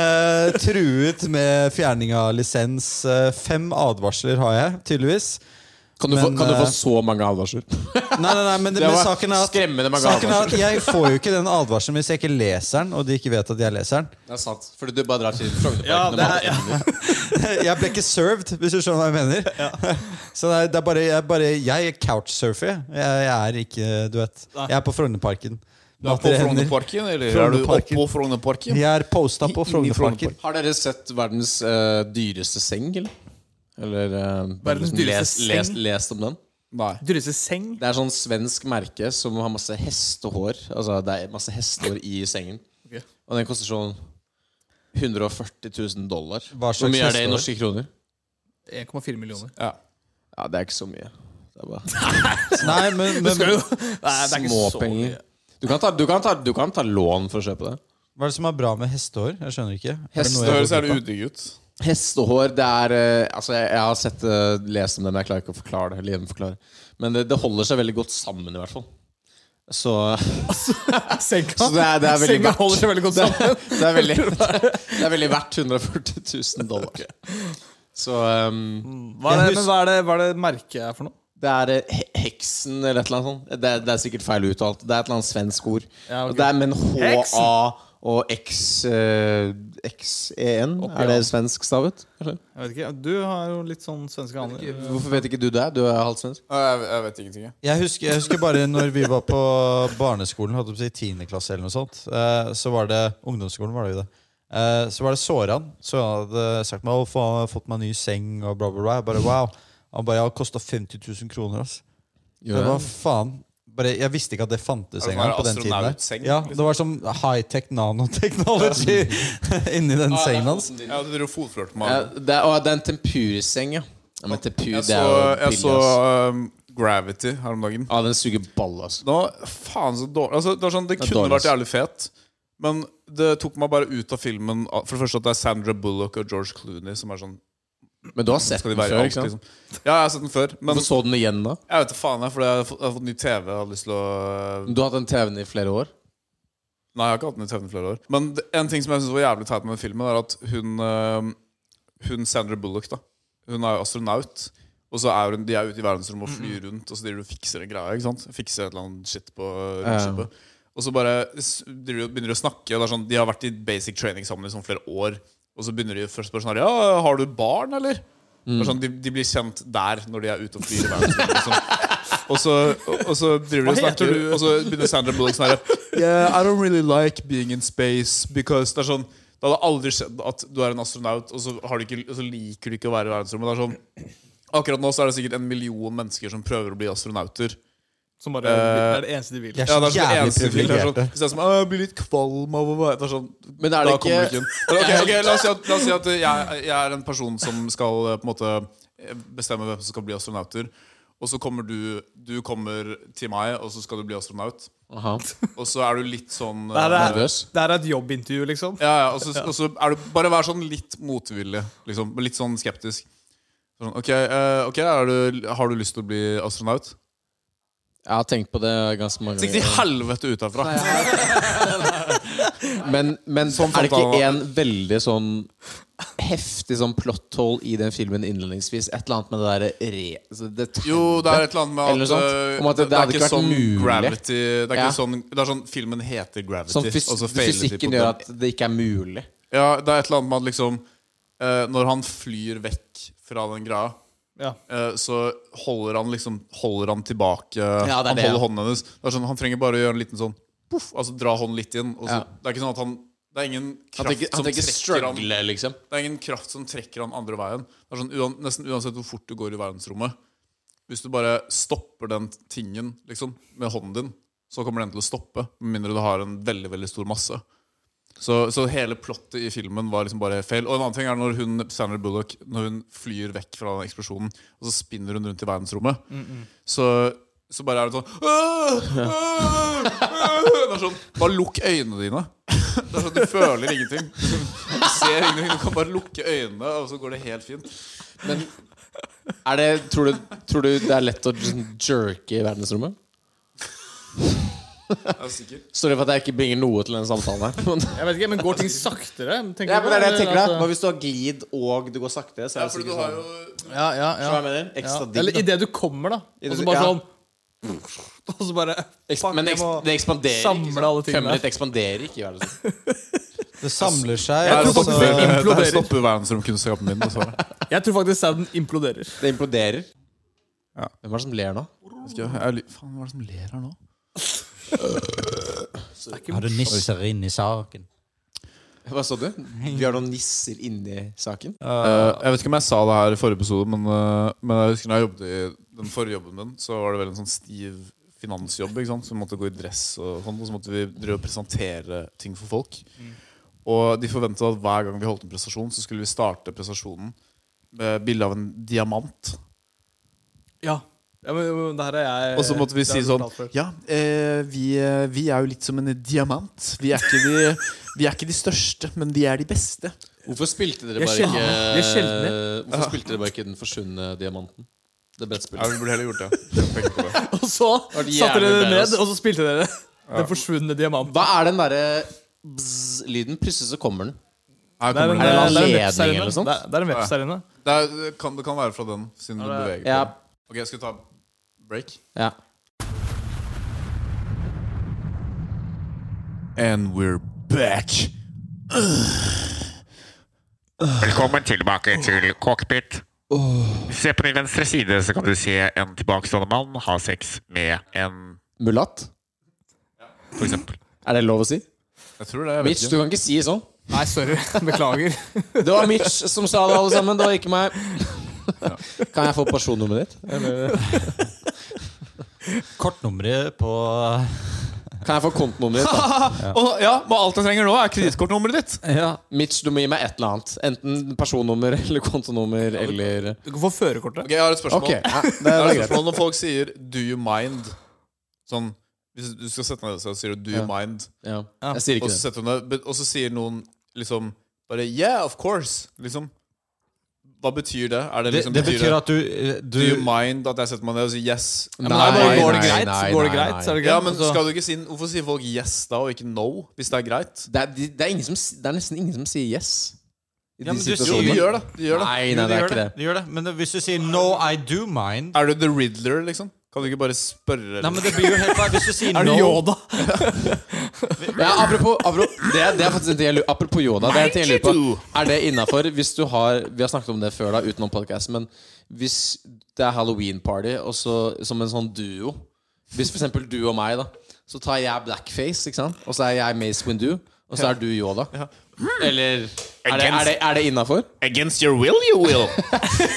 S4: Eh, truet med fjerning av lisens. Eh, fem advarsler har jeg, tydeligvis.
S2: Kan du, få,
S4: Men,
S2: kan du få
S4: eh,
S2: så mange advarsler?
S4: Nei, nei, nei, men, det,
S2: Det
S4: men
S2: var
S4: saken er at
S2: skremmende mange
S4: Saken er at Jeg får jo ikke den advarselen hvis jeg ikke leser den, og de ikke vet at jeg leser den.
S2: Det er sant. Fordi du bare drar til
S3: Ja,
S2: Frognerparken. og
S3: det er-
S2: mater ender.
S4: Jeg ble ikke served, hvis du skjønner hva jeg mener. Så det er, det er bare Jeg, bare, jeg couchsurfer. Jeg, jeg er ikke Du vet. Jeg er på Frognerparken.
S1: Du er på
S4: Mater hender.
S1: Frognerparken, eller er du
S4: Frognerparken.
S1: oppå Frognerparken?
S4: Jeg er posta på
S1: Inni
S4: Frognerparken.
S1: Frognerparken.
S2: Har dere sett verdens eh, dyreste seng, eller? Eller eh,
S3: Verdens
S2: les,
S3: dyreste
S2: les,
S3: seng?
S2: Lest om den?
S1: Nei.
S3: Dyreste seng.
S2: Det er sånn svensk merke som har masse hestehår. Altså det er masse hestehår i sengen.
S3: Ok.
S2: Og den koster sånn 140 000 dollar.
S4: Hva
S2: Hvor
S4: slags
S2: mye er det i
S4: hestehår?
S2: norske kroner?
S3: 1,4 millioner.
S1: Ja.
S2: Ja, det er ikke så mye. Det er bare
S4: Nei, men, men Hva
S3: Nei, det er ikke så
S2: Småpenger. Du kan, ta, du, kan ta, du kan ta lån for å kjøpe det.
S4: er det som er bra med hestehår? Jeg skjønner ikke. Er det noe
S1: Det
S4: jeg
S1: høres
S4: går
S1: jævlig
S4: glipp av?
S1: udigg ut.
S2: Hestehår det er eh, Altså, jeg, jeg har sett eh, lest om det, men jeg klarer ikke å forklare det. eller gjenforklare. Men det, det holder seg veldig godt sammen, i hvert fall. Så,
S3: Senga,
S2: så det, er, det er veldig
S3: senga
S2: verdt-
S3: holder seg veldig godt sammen.
S2: det er veldig, det er veldig verdt 140 000 dollar. Så ehm,
S3: Hva er det,
S2: Jeg
S3: men hva er det, hva er det merket er for noe?
S2: det er eh, he- Heksen eller et eller annet sånt. Det, er- det er sikkert feil uttalt. Det er et eller annet svensk ord.
S3: Ja, ok.
S2: Og det er Men
S3: Heksen!
S2: HA og X, eh, XEN.
S3: Oppi,
S2: Er det
S3: ja.
S2: svensk stavet? eller?
S3: Jeg vet ikke, Du har jo litt sånn svenske aner.
S2: Hvorfor vet ikke du det? Du er halvt svensk.
S1: Jeg, jeg vet ingenting, jeg.
S4: Jeg husker, jeg husker bare når vi var på barneskolen, holdt jeg på å si 10. klasse eller noe sånt, eh, så var det ungdomsskolen, var det jo det. Eh, Så var det Såran. Såran hadde sagt meg, å faen, jeg har fått meg ny seng og bla, bla, bla. Jeg bare wow. Han bare, ja, kosta 50 000 kroner, ass. Det var faen bare, Jeg visste ikke at det fantes
S1: det
S4: engang
S1: bare
S4: på den tiden. Der.
S1: astronautseng,
S4: Ja,
S1: liksom?
S4: det var sånn high-tech nanotechnology inni den sengen hans.
S1: Ja, du driver og fotflørter med
S2: Ja,
S1: alle.
S2: det er, å, det er en tempurseng, ja. ja men tempur,
S1: Jeg så,
S2: det er jo
S1: jeg
S2: billig,
S1: så
S2: ass.
S1: um, Gravity her om dagen.
S2: Ja, den suger ball, altså.
S1: Det var faen så dårlig altså, Det, var sånn, det
S2: Det er
S1: kunne
S2: dårlig,
S1: vært jævlig fet, men det tok meg bare ut av filmen For det første at det er Sandra Bullock og George Clooney som er sånn
S2: Men du har sett
S1: Skal
S2: den
S1: de være i
S2: før, ikke
S1: alt,
S2: sant?
S1: liksom? Ja, jeg har sett den før. Men
S2: Hvorfor så den igjen da?
S1: jeg vet da faen, jeg, fordi jeg har fått, jeg har fått ny TV. Jeg hadde lyst til å eh,
S2: Du har hatt den TV-en i flere år?
S1: Nei, jeg har ikke hatt den i TV i flere år. Men det- en ting som jeg synes var jævlig teit med den filmen, er at hun øhm, Hun Sandra Bullock, da Hun er jo astronaut. Og så er hun, de er ute i verdensrommet og flyr rundt, og så driver du og fikser en greie. ikke sant? Fikser et eller annet shit på romskipet. Og så bare s- driver, de- begynner de å snakke. Og det er sånn, de har vært i basic training sammen i sånn flere år. Og så begynner de først å spørre sånn her, Ja, har du barn, eller? Det er Sånn, de, de blir kjent der, når de er ute og flyr i verdensrommet. Liksom. Og så, og så driver de og snakker, og så begynner Sandra Bullock sånn her Yeah, I don't really like being in space because Det er sånn Det hadde aldri skjedd at du er en astronaut, og så, har du ikke, og så liker du ikke å være i verdensrommet. Det er sånn Akkurat nå så er det sikkert en million mennesker som prøver å bli astronauter.
S3: Som bare det er det eneste de vil.
S4: Jeg er
S1: Ja,
S4: så
S1: det er sånn det
S4: jævlig
S1: eneste de vil. Det er
S4: privilegerte.
S1: sånn, hvis det er sånn «Å, Jeg blir litt kvalm av å være Det er sånn
S2: Men er det
S1: da kommer du
S2: ikke
S1: ikke inn. Men ok, ok, la, oss si at, la oss si at jeg, jeg er en person som skal eh, på en måte bestemme hvem som skal bli astronauter. Og så kommer du Du kommer til meg, og så skal du bli astronaut.
S2: Aha.
S1: Og så er du litt sånn eh,
S3: Det her er,
S2: Nervøs?
S3: det her er et jobbintervju, liksom.
S1: ja, ja, og, så, og så er du Bare vær sånn litt motvillig. Liksom, litt sånn skeptisk. Sånn, ok, eh, ok, er du, har du lyst til å bli astronaut?
S2: Jeg har tenkt på det ganske mange
S1: Stikk til
S2: ganger.
S1: helvete ut herfra!
S2: Men, men
S1: Sånn
S2: er det
S1: fant
S2: ikke
S1: han
S2: en veldig sånn heftig sånn plot hole i den filmen innledningsvis? Et eller annet med det derre re... altså, Det
S1: Jo, det er et eller annet med at,
S2: Eller sånt.
S1: eh,
S2: Om at det- det hadde ikke vært mulig.
S1: gravity Det er ikke
S2: Ja.
S1: sånn Det er sånn filmen heter Gravity.
S2: sånn fys
S1: og så feiler de på
S2: Fysikken
S1: den.
S2: gjør at det ikke er mulig.
S1: Ja, det er et eller annet med at liksom eh, Når han flyr vekk fra den greia
S3: Ja.
S1: eh, så holder han liksom Holder han tilbake
S2: det er
S1: Han
S2: det, ja.
S1: holder hånden hennes. Det er sånn, han trenger bare å gjøre en liten sånn poff, altså dra hånden litt inn. Og så,
S2: Ja.
S1: Det er ikke sånn at han Det er ingen
S2: At
S1: kraft
S2: det ikke, at
S1: som
S2: det ikke
S1: trekker han
S2: struggle, liksom.
S1: det er ingen kraft som trekker han andre veien. Det er sånn, uan, Nesten uansett hvor fort du går i verdensrommet. Hvis du bare stopper den tingen liksom, med hånden din, så kommer den til å stoppe. Med mindre du har en veldig veldig stor masse. Så, så hele plottet i filmen var liksom bare feil. Og en annen ting er når hun Sandra Bullock Når hun flyr vekk fra den eksplosjonen, og så spinner hun rundt i verdensrommet, så, så bare er det sånn «Åh! Åh! Åh!» Det er sånn Bare lukk øynene dine. Det er sånn Du føler ingenting. Du ser ingenting. Du kan bare lukke øynene, og så går det helt fint.
S2: Men er det, tror, du, tror du det er lett å liksom jerke i verdensrommet?
S1: Jeg er sikker.
S2: Sorry for at jeg ikke bringer noe til den samtalen her. Men,
S3: Jeg vet ikke, men Går ting saktere? tenker
S2: ja, men det er det jeg
S3: du,
S2: tenker da.
S3: altså?
S2: Hva hvis du har glid og du går sakte? Så
S1: Ja,
S2: er det
S1: fordi du
S2: sikkert
S1: har
S2: sånn
S1: jo
S3: Ja,
S2: Skjønner
S3: ja,
S2: du hva
S3: ja.
S2: jeg mener? Ekstra
S3: ja.
S2: digg,
S3: altså- Eller
S2: da.
S3: idet du kommer, da. Og så
S2: Ja.
S3: bare sånn Og så bare
S2: Eks- Men
S3: jeg
S2: eks-
S3: må
S2: det ekspanderer
S3: samle
S2: ikke.
S3: alle
S2: sant?
S3: tingene.
S2: Femmeret ekspanderer ikke i verden.
S4: Det samler seg. Altså-
S1: Der
S3: tror faktisk det
S1: stopper-
S3: imploderer.
S1: Der stopper verdensromkunnskapen min, dessverre.
S3: Jeg tror faktisk sauen imploderer.
S2: Det imploderer.
S1: Ja.
S2: Hvem er det som ler nå?
S1: Vet ikke, jeg ly- Faen, hva er det som ler her nå?
S4: Har du nisser inn i saken?
S2: Hva sa du? Vi har noen nisser inni saken.
S1: Eh, jeg vet ikke om jeg sa det her i forrige episode, men, eh, men jeg husker når jeg jobbet i den forrige jobben min, så var det vel en sånn stiv finansjobb, ikke sant? så vi måtte gå i dress og sånn, og så måtte vi drive og presentere ting for folk. Og de forventa at hver gang vi holdt en prestasjon, så skulle vi starte prestasjonen med bilde av en diamant.
S3: Ja. ja men, men det her er jeg
S1: Og så måtte vi
S3: det har
S1: si
S3: jeg
S1: sånn
S3: fortalt før.
S1: Ja, eh, vi, eh, vi er jo litt som en diamant. Vi er, ikke de, vi er ikke de største, men vi er de beste.
S2: Hvorfor spilte dere
S3: Jeg
S2: bare
S3: skjelver.
S2: ikke
S3: Jeg skjelver.
S2: Hvorfor spilte dere bare ikke Den forsvunne diamanten? Det
S1: Ja,
S2: brettspillet.
S1: vi burde heller gjort det. Jeg tenker på det.
S3: Og så
S2: Har de
S3: satte dere
S2: jævlig
S3: det
S2: mer,
S3: ned,
S2: ass.
S3: og så spilte dere Den forsvunne diamanten.
S2: Hva er den derre bzz-lyden? Plutselig så kommer den.
S1: Her
S3: Det er
S1: kommer
S3: en,
S1: den.
S2: det en
S3: det er en
S2: ledning
S3: veps her
S2: eller noe
S3: inne.
S2: sånt?
S3: Det er- det er en veps her inne.
S1: Det, er, det, kan, det kan være fra den, siden du beveger
S2: Ja.
S1: på den. Ok, Skal vi ta break?
S2: ja.
S1: And we're back.
S7: Velkommen tilbake til cockpit. Se på din venstre side, så kan du se en tilbakestående mann ha sex med en,
S2: Mulatt?
S7: for eksempel.
S2: Er det lov å si?
S1: Jeg tror det. jeg vet
S2: Mitch, du
S1: ikke
S2: kan ikke si sånn.
S3: Nei, sorry. Beklager.
S2: Det var Mitch som sa det, alle sammen. Det var ikke meg. Kan jeg få personnummeret ditt?
S4: Kortnummeret på
S2: Kan jeg få kontonummeret ditt? da?
S1: Å, ja, men Alt jeg trenger nå, er kredittkortnummeret ditt.
S4: Ja.
S2: Mitch, du må gi meg et eller annet. Enten personnummer eller kontonummer eller
S3: Du kan få førerkortet.
S1: Ok, Jeg har et spørsmål.
S2: Ok, ja, det,
S1: Det
S2: det
S1: er
S2: er
S1: et
S2: greit.
S1: spørsmål når folk sier 'do you mind' Sånn Hvis du skal sette deg ned og sier du 'do you
S2: Ja.
S1: mind',
S2: Ja. Jeg sier
S1: og
S2: ikke
S1: så
S2: det.
S1: setter hun deg but- Og så sier noen liksom bare 'yeah, of course'. Liksom Hva betyr det? Er det
S4: Det,
S1: liksom
S4: det betyr at du, du
S1: Do you mind at jeg setter meg ned og sier 'yes'?
S3: Men da bare går det greit, så går det greit, så er det greit. Altså-
S1: Ja, men
S3: og så-
S1: skal du ikke si Hvorfor sier folk 'yes' da, og ikke 'no'? Hvis det er greit?
S2: Det er, de- det, er ingen som, s- det er nesten ingen som sier yes. I
S4: Ja, men du
S1: Jo, de
S4: sier-
S1: gjør det. De gjør det.
S2: Nei,
S4: Jo,
S2: nei, det
S4: du
S2: er
S4: gjør
S2: ikke det.
S4: Du gjør det. Men det- hvis du sier 'no, I do mind'
S1: Er du the riddler, liksom? Kan du ikke bare spørre?
S4: Nei, men det blir jo helt feil. Hvis du sier
S3: Er du
S4: no
S3: Yoda?
S2: Ja, apropos, apropos, det, er- det er faktisk en ting jeg lurer Apropos Yoda. Det er, en ting jeg lurer på. er det innafor hvis du har Vi har snakket om det før, da, utenom podkasten, men hvis det er halloween-party, og så som en sånn duo Hvis for eksempel du og meg, da, så tar jeg blackface, ikke sant? og så er jeg Mace Windu, og så er du Yoda. Eller Er det, er det, er det innafor?
S7: Against your will, you will.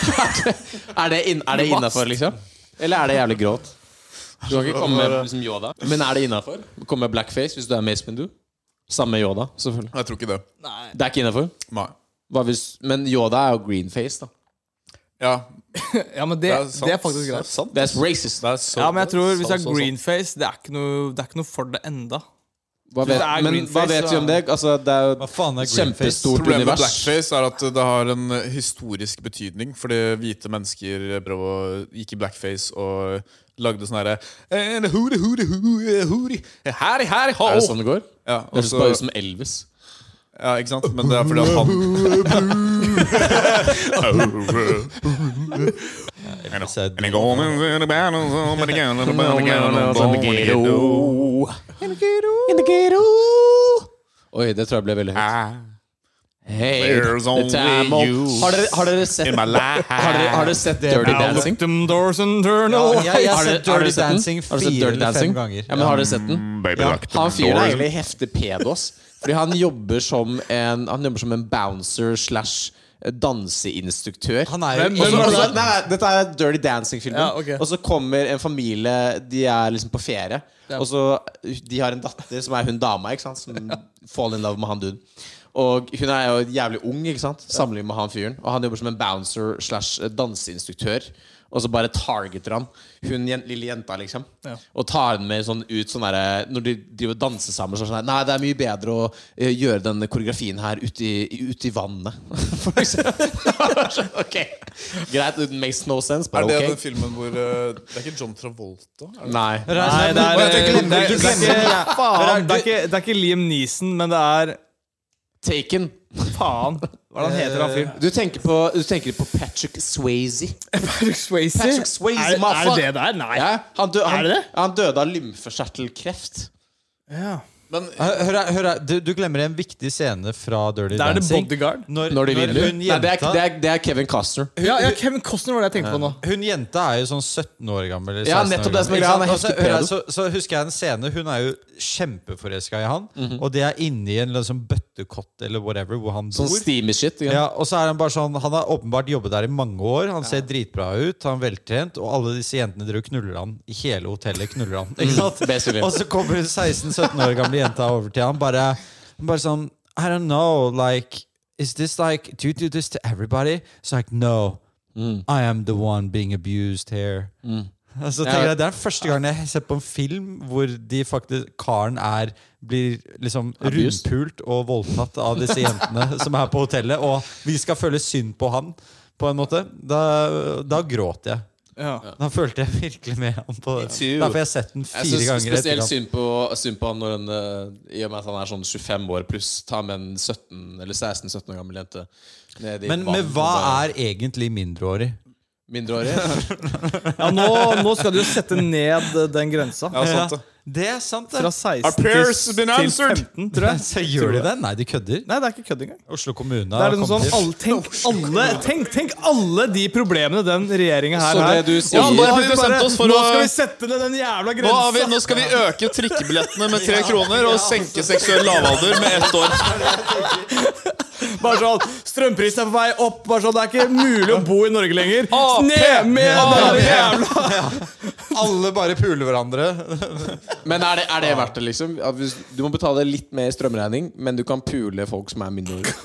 S2: Er det, inn- er det innafor, liksom? Eller er det jævlig gråt? Du kan ikke komme med liksom, Yoda. Men er det innafor? Komme med blackface hvis du er Mace Windu? Samme Yoda, selvfølgelig.
S1: Jeg tror ikke det.
S2: Det er ikke innafor.
S1: Nei.
S2: Men Yoda er jo greenface, da.
S1: Ja,
S3: Ja, men
S1: det
S3: det,
S1: er sant.
S3: det er faktisk
S1: Det
S3: greit.
S1: er sant.
S2: Det er racist.
S1: Det er så-
S3: Ja, men jeg tror Hvis det
S1: så-
S3: er
S1: så- så-
S3: greenface, det er ikke noe, det er ikke noe for det enda
S2: Hva vet,
S3: Det er
S2: men hva
S3: greenface,
S2: vet vi om det? Altså, det er jo
S4: Hva faen er
S2: et
S4: greenface?
S2: kjempestort
S1: Problemet med
S2: univers.
S1: blackface er at det har en eh, historisk betydning. Fordi hvite mennesker prøv å- gikk i blackface og lagde sånn herre And hoody, hoody, hoody, hoody, harry, harry, ho.
S2: Er det sånn det går?
S1: Ja,
S2: Det
S1: og
S2: høres
S1: så-
S2: bare ut som Elvis.
S1: ja, ikke sant? Men det er fordi at han
S7: And it goes in the battle, so many guns in the battle, guns in the ghetto.
S2: Oi, det tror jeg ble veldig høyt.
S7: Ah,
S2: Hey,
S7: There's
S2: the time
S7: only
S2: of-
S7: you.
S2: har, dere, har dere sett
S7: In my life.
S2: har dere, har dere sett Dirty Dancing?
S3: Victim doors internal
S4: Ja, jeg har
S2: Har dere-
S4: sett
S2: har dere
S4: Dirty
S2: sett den?
S4: Dancing
S2: Har dere sett
S4: fire
S2: Dirty
S4: eller fem
S2: Dancing?
S4: ganger.
S2: Ja, men har dere sett den?
S7: Baby locked the
S2: Han fyren er
S7: doors.
S2: egentlig heftig pedo, ass. Fordi han jobber som en, han jobber som en bouncer slash danseinstruktør.
S4: Han er jo
S2: Og så-
S4: ingen-
S2: og så- altså, nei, nei, Dette er Dirty Dancing-filmen.
S3: Ja, ok.
S2: Og så kommer en familie De er liksom på ferie. Og så De har en datter som er hun dama, ikke sant? Som fall in love med han duden. Og hun er jo jævlig ung ikke sant? sammenlignet med han fyren. Og han jobber som en bouncer slash eh, danseinstruktør. Og så bare targeter han hun jen- lille jenta, liksom. Og tar henne med sånn ut sånn derre Når de driver og danser sammen, så er det sånn her, Nei, det er mye bedre å eh, gjøre denne koreografien her ute i, ute i vannet. For eksempel. ok Greit, it makes no sense,
S1: Er
S2: bare
S1: det den
S2: ok.
S1: filmen hvor eh, Det er ikke John Travolta? Er det?
S2: Nei.
S3: Nei, det er,
S1: Men jeg tenker-
S3: det er,
S1: du
S3: det er,
S1: glemmer-
S3: ikke, faen, det er ikke Det er ikke Liam Neeson, men det er
S2: Taken.
S3: Faen. Hva er det han heter, han fyren?
S2: Du tenker på, du tenker på Patrick Swayze.
S3: Eh, Patrick Swayze?
S2: Patrick Swayze,
S3: Er, er
S2: motherfucker.
S3: det det der? Nei.
S2: Ja, han, dø, han,
S3: Er det det?
S2: han døde av lymfekjertelkreft.
S1: Men
S4: Hør her, hør her. Du, du glemmer en viktig scene fra Dirty
S3: Da er det
S4: Dancing.
S3: Bodyguard.
S4: Når,
S2: Når de
S4: når
S2: vinner.
S4: hun
S2: Nei, det er,
S4: jenta
S2: det, er, det er Kevin Costner.
S3: Ja, ja, Kevin Costner var det jeg tenkte på nå.
S4: Hun jenta er jo sånn 17 år gammel. Eller 16
S2: Ja, nettopp
S4: år
S2: det som er
S4: gammel.
S2: greia, han er
S4: Ikke sant?
S2: heftig
S4: Og så- hør her,
S2: pedo.
S4: så, så husker jeg en scene. Hun er jo kjempeforelska i han.
S2: Mhm.
S4: Og det er inni en liksom, bøttekott eller whatever hvor han bor.
S2: Sånn steamy shit. ikke sant?
S4: ja, og så er Han bare sånn Han har åpenbart jobbet der i mange år. Han ser dritbra ut, han er veltrent, og alle disse jentene dere knuller han. I hele hotellet knuller han. Ikke sant?
S2: basically.
S4: og så kommer hun 16-17 år gamle jenta over til han bare, bare sånn I don't know, like Is this like Do you do this to everybody? It's like, no. I am the one being abused here. Altså, tenker jeg, det er den første gangen jeg har sett på en film hvor de faktisk, karen er, blir liksom
S2: Abused.
S4: rundpult og voldtatt av disse jentene som er på hotellet, og vi skal føle synd på han, på en måte. Da, da gråt jeg.
S3: Ja.
S4: Da følte jeg virkelig med ham. på det.
S1: too.
S4: Derfor har jeg sett den
S2: Jeg
S4: fire
S2: synes
S4: ganger.
S2: spesielt
S4: etterkant.
S2: synd på, synd på han når han eh, I og med at han er sånn 25 år pluss, tar med en 17 eller 16-17 år gammel jente ned i
S4: Men
S2: vann
S4: med hva
S2: og bare-
S4: er egentlig mindreårig?
S2: Mindreårig?
S3: Ja, nå, nå skal du jo sette ned eh, den grensa.
S1: Ja, sant det.
S4: Det er sant,
S3: Fra
S4: det.
S3: 16 til,
S1: prayers been
S3: til
S1: answered?
S3: 15, tror jeg.
S4: Så gjør de det? Nei, de kødder.
S3: Nei, det er ikke kødd engang.
S4: Oslo kommune
S3: Det er
S4: har
S3: liksom
S4: kommet
S3: sånn,
S4: til.
S3: alle, tenk, alle, tenk, tenk alle de problemene den regjeringa her
S2: Så det
S3: har.
S2: du sier-
S3: Ja,
S1: Nå har vi
S3: plutselig bare,
S1: bestemt oss for
S3: nå
S1: å-
S3: skal vi sette ned den jævla
S1: Nå, har vi,
S3: grensa!
S1: nå skal vi øke trikkebillettene med tre kroner og senke seksuell lavalder med ett år.
S3: Bare sånn, Strømprisen er på vei opp. Bare sånn, det er ikke mulig å bo i Norge lenger.
S1: AP!
S3: Ned med den jævla
S4: Alle bare puler hverandre.
S2: Men er det, er det verdt det, liksom? At hvis, du må betale litt mer strømregning, men du kan pule folk som er mindreårige.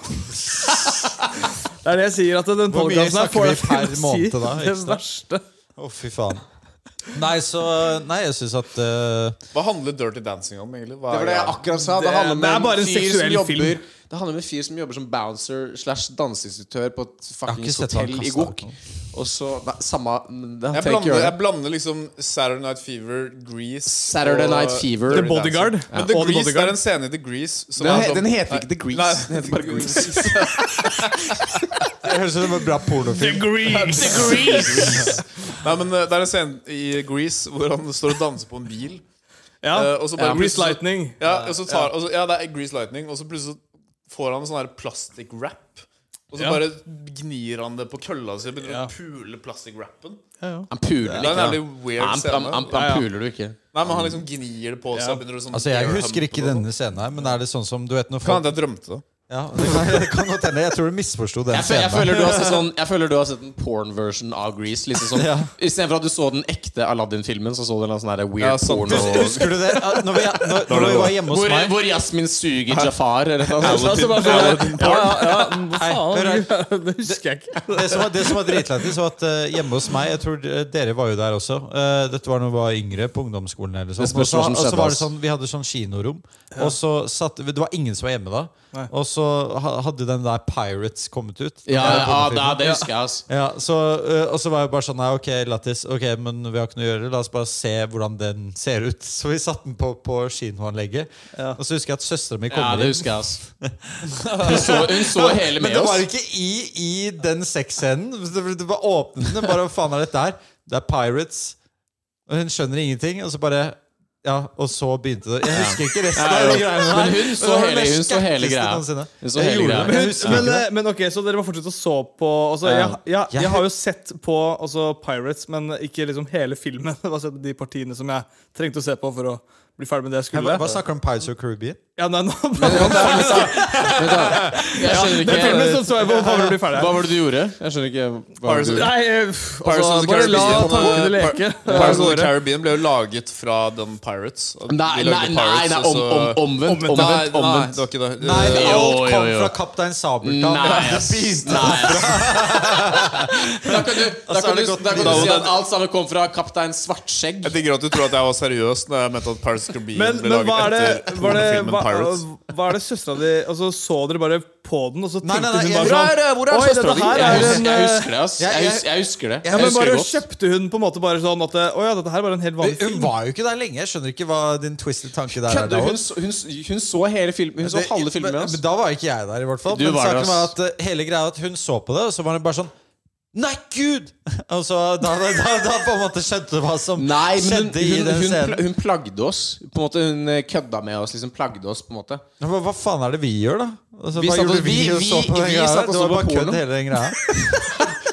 S3: Det er det jeg sier. at den
S4: Hvor mye
S3: podcasten her
S4: snakker
S3: får deg
S4: vi
S3: til
S4: per
S3: å si
S4: måned da, ikke
S3: Det
S4: sant?
S3: verste.
S4: Å, fy faen. Nei, så Nei, jeg syns at eh,
S1: Hva handler Dirty Dancing om, egentlig? Hva
S2: Det var det jeg
S1: greia?
S2: akkurat sa. Det,
S3: Det-
S2: handler om
S3: det er bare en
S2: fyr som
S3: seksuell
S2: jobber,
S3: film.
S2: Det handler om en fyr som jobber som bouncer slash danseinstruktør på et
S4: ikke
S2: fuckings
S4: sett han
S2: hotell i
S4: kaste
S2: Gok.
S4: alkohol.
S2: Og så nei, Samme men det,
S1: jeg
S2: trenger ikke
S1: blander,
S2: gjøre
S1: jeg
S2: det.
S1: blander liksom Saturday Night Fever, Grease
S2: Saturday
S1: og
S2: Night Fever.
S1: Dirty
S3: The Bodyguard.
S1: Dancing. Men
S3: Ja.
S1: The
S3: Og
S1: Grease,
S3: The
S1: Det
S3: Bodyguard.
S1: er en scene i The Grease som
S2: Den,
S1: er
S2: he-
S1: sånn-
S2: den heter ikke The Grease.
S1: Nei,
S2: den heter bare Grease.
S4: Det høres ut som en bra pornofilm.
S1: Nei, men eh, Det er en scene i Grease hvor han står og danser på en bil.
S3: Ja.
S1: Eh, og så bare-
S3: Grease Lightning.
S1: Ja, og så tar, og så, ja det er Grease Lightning, og så plutselig så får han en sånn her plastikk-wrap. Og så
S3: Ja.
S1: bare gnir han det på kølla si og begynner å pule plastikk-wrappen.
S2: Han puler
S1: Det er en
S2: ikke.
S1: jævlig
S2: da.
S1: weird
S2: Han, han,
S1: scene.
S2: han,
S1: Nei,
S2: han puler du ikke.
S1: men han liksom gnir det på seg. og begynner å sånn
S4: Altså, Jeg
S1: air
S4: husker
S1: hump
S4: ikke
S1: og sånn.
S4: denne scenen her, men er det sånn som du vet når
S1: Kan
S4: folk
S1: hende jeg drømte det.
S4: ja, det kan godt hende. Jeg tror du misforsto den
S2: Jeg, fø- jeg,
S4: scenen.
S2: føler du har sett sånn, jeg føler du har sett en porn-version av Grease. Liksom sånn,
S4: Ja.
S2: Istedenfor at du så den ekte Aladdin-filmen, så så du en eller annen sånn her weird
S1: Ja, sant.
S2: porno.
S4: der. Husker du det? At Når vi, når, når vi var hjemme hos
S2: Hvor,
S4: meg
S2: hvor Jasmin suger Jafar. Eller noe sånt. Altså, bare sånn,
S4: Aladdin porn. Nei, hør her.
S3: Det husker jeg ikke.
S4: det som var, det som var dritlættis, var at eh, hjemme hos meg Jeg tror eh, dere var jo der også. eh, dette var da vi var yngre, på ungdomsskolen. eller sånn.
S2: Det spørs
S4: Og så-
S2: hva som
S4: og så
S2: skjedde,
S4: var det
S2: ass.
S4: sånn, Vi hadde sånn kinorom, og så satt Det var ingen som var hjemme da. Og så ha- hadde den der Pirates kommet ut.
S2: ja,
S4: Den der
S2: ja, det,
S4: pornofilmen.
S2: det husker jeg. ass
S4: Ja, så, øh, og så var jeg bare sånn Nei, ok, lattis, ok, men vi har ikke noe å gjøre La oss bare se hvordan den ser ut Så vi satt den på, på kinoanlegget Og så husker jeg at søsteren min
S2: Ja,
S4: kommer
S2: det
S4: inn
S2: husker jeg. ass Hun så, hun så hele
S4: Men
S2: med
S4: det var
S2: oss.
S4: ikke i, i den sexscenen Det det var åpnet den, bare hva faen er dette her Det er Pirates Og hun skjønner ingenting, og så bare Ja, og så begynte det Jeg husker ikke resten av de greiene
S2: Men
S4: der.
S2: hun
S4: Det
S2: så
S4: var det
S2: hele, hun
S4: mest
S2: så hele
S4: skeptiske
S2: greia.
S4: noensinne.
S2: Hun så hele greia.
S3: Men,
S4: husker
S3: men,
S4: ikke
S3: men ok, så dere var fortsatt og så på altså, jeg,
S2: Ja.
S3: jeg, jeg har jo sett på altså, Pirates, men ikke liksom hele filmen. Det var sett de partiene som jeg trengte å se på for å bli ferdig med det jeg
S4: Hva,
S3: skulle.
S4: hva snakker du om Pirates of the Caribbean?
S3: Ja, nei, nå, Den
S2: Vent da, Jeg skjønner
S3: filmen
S2: ikke
S3: så så jeg på for å bli ferdig.
S2: Hva var det du gjorde? Jeg skjønner ikke hva var det du gjorde.
S3: Nei, eh, pff, altså,
S1: Pirates of the
S3: bare la
S1: Caribbean.
S3: tankene leke.
S1: Pirates of the Caribbean ble jo laget fra den Pirates. At
S2: Nei,
S1: de lagde
S2: nei, nei, nei,
S1: og så-
S2: om- om- omvendt,
S1: Nei,
S2: omvendt,
S1: nei,
S2: omvendt.
S1: det var ikke det.
S4: Nei,
S1: Eh,
S2: jo,
S4: alt kom
S2: jo, jo.
S4: fra Kaptein Sabeltan
S2: Nei, ass. Nei, ass. Da kan du, da
S4: så er
S2: kan
S4: det
S2: du,
S4: gått
S2: da kan du
S1: videre.
S2: si at alt sammen kom fra kaptein Svartskjegg.
S1: jeg digger at du tror at jeg var seriøs når jeg mente at Pirates of the Caribbean
S3: Men,
S1: ble
S3: men hva er
S1: laget
S3: det,
S1: etter
S3: var det,
S1: pornofilmen
S3: hva,
S1: Pirates.
S3: hva er det søstera di altså, Så dere bare på den, og så
S4: Nei, nei,
S3: tenkte
S4: nei,
S3: hun
S4: jeg-
S3: bare
S4: Hvor
S3: sånn Oi, dette her
S2: Jeg
S3: er
S2: hus-
S3: en
S2: jeg
S3: eh,
S2: husker det, ass. Jeg hus- jeg husker det.
S3: ja,
S2: Jeg
S3: men
S2: husker
S3: bare
S2: det godt.
S3: kjøpte hun på en måte bare sånn at eh, Å ja, dette her var en helt vanlig
S4: Hun var jo ikke der lenge. Jeg skjønner ikke hva din twisted tanke der er.
S2: Kødder
S4: da.
S2: du? Hun, så- hun, s- hun så hele filmen. Hun så
S4: Det-
S2: halve filmen med
S4: men,
S2: oss.
S4: men Da var ikke jeg der, i hvert fall.
S2: Du
S4: men
S2: var der,
S4: saken var
S2: ass.
S4: at eh, hele greia var at hun så på det, og så var hun bare sånn Nei, gud! Og så da, da, da, da på en måte skjønte du hva som
S2: Nei, men hun,
S4: skjedde i
S2: hun,
S4: den
S2: hun,
S4: scenen.
S2: pla- hun plagde oss. På en måte Hun eh, kødda med oss. Liksom plagde oss på en måte
S4: Ja, men hva faen er det vi gjør, da? Altså,
S2: Vi
S4: hva
S2: satt
S4: gjorde
S2: oss- vi-
S4: og så
S2: vi-
S4: på den
S2: vi
S4: greia?
S2: satt oss
S4: Det var
S2: på
S4: bare kødd
S2: porno.
S4: hele den greia.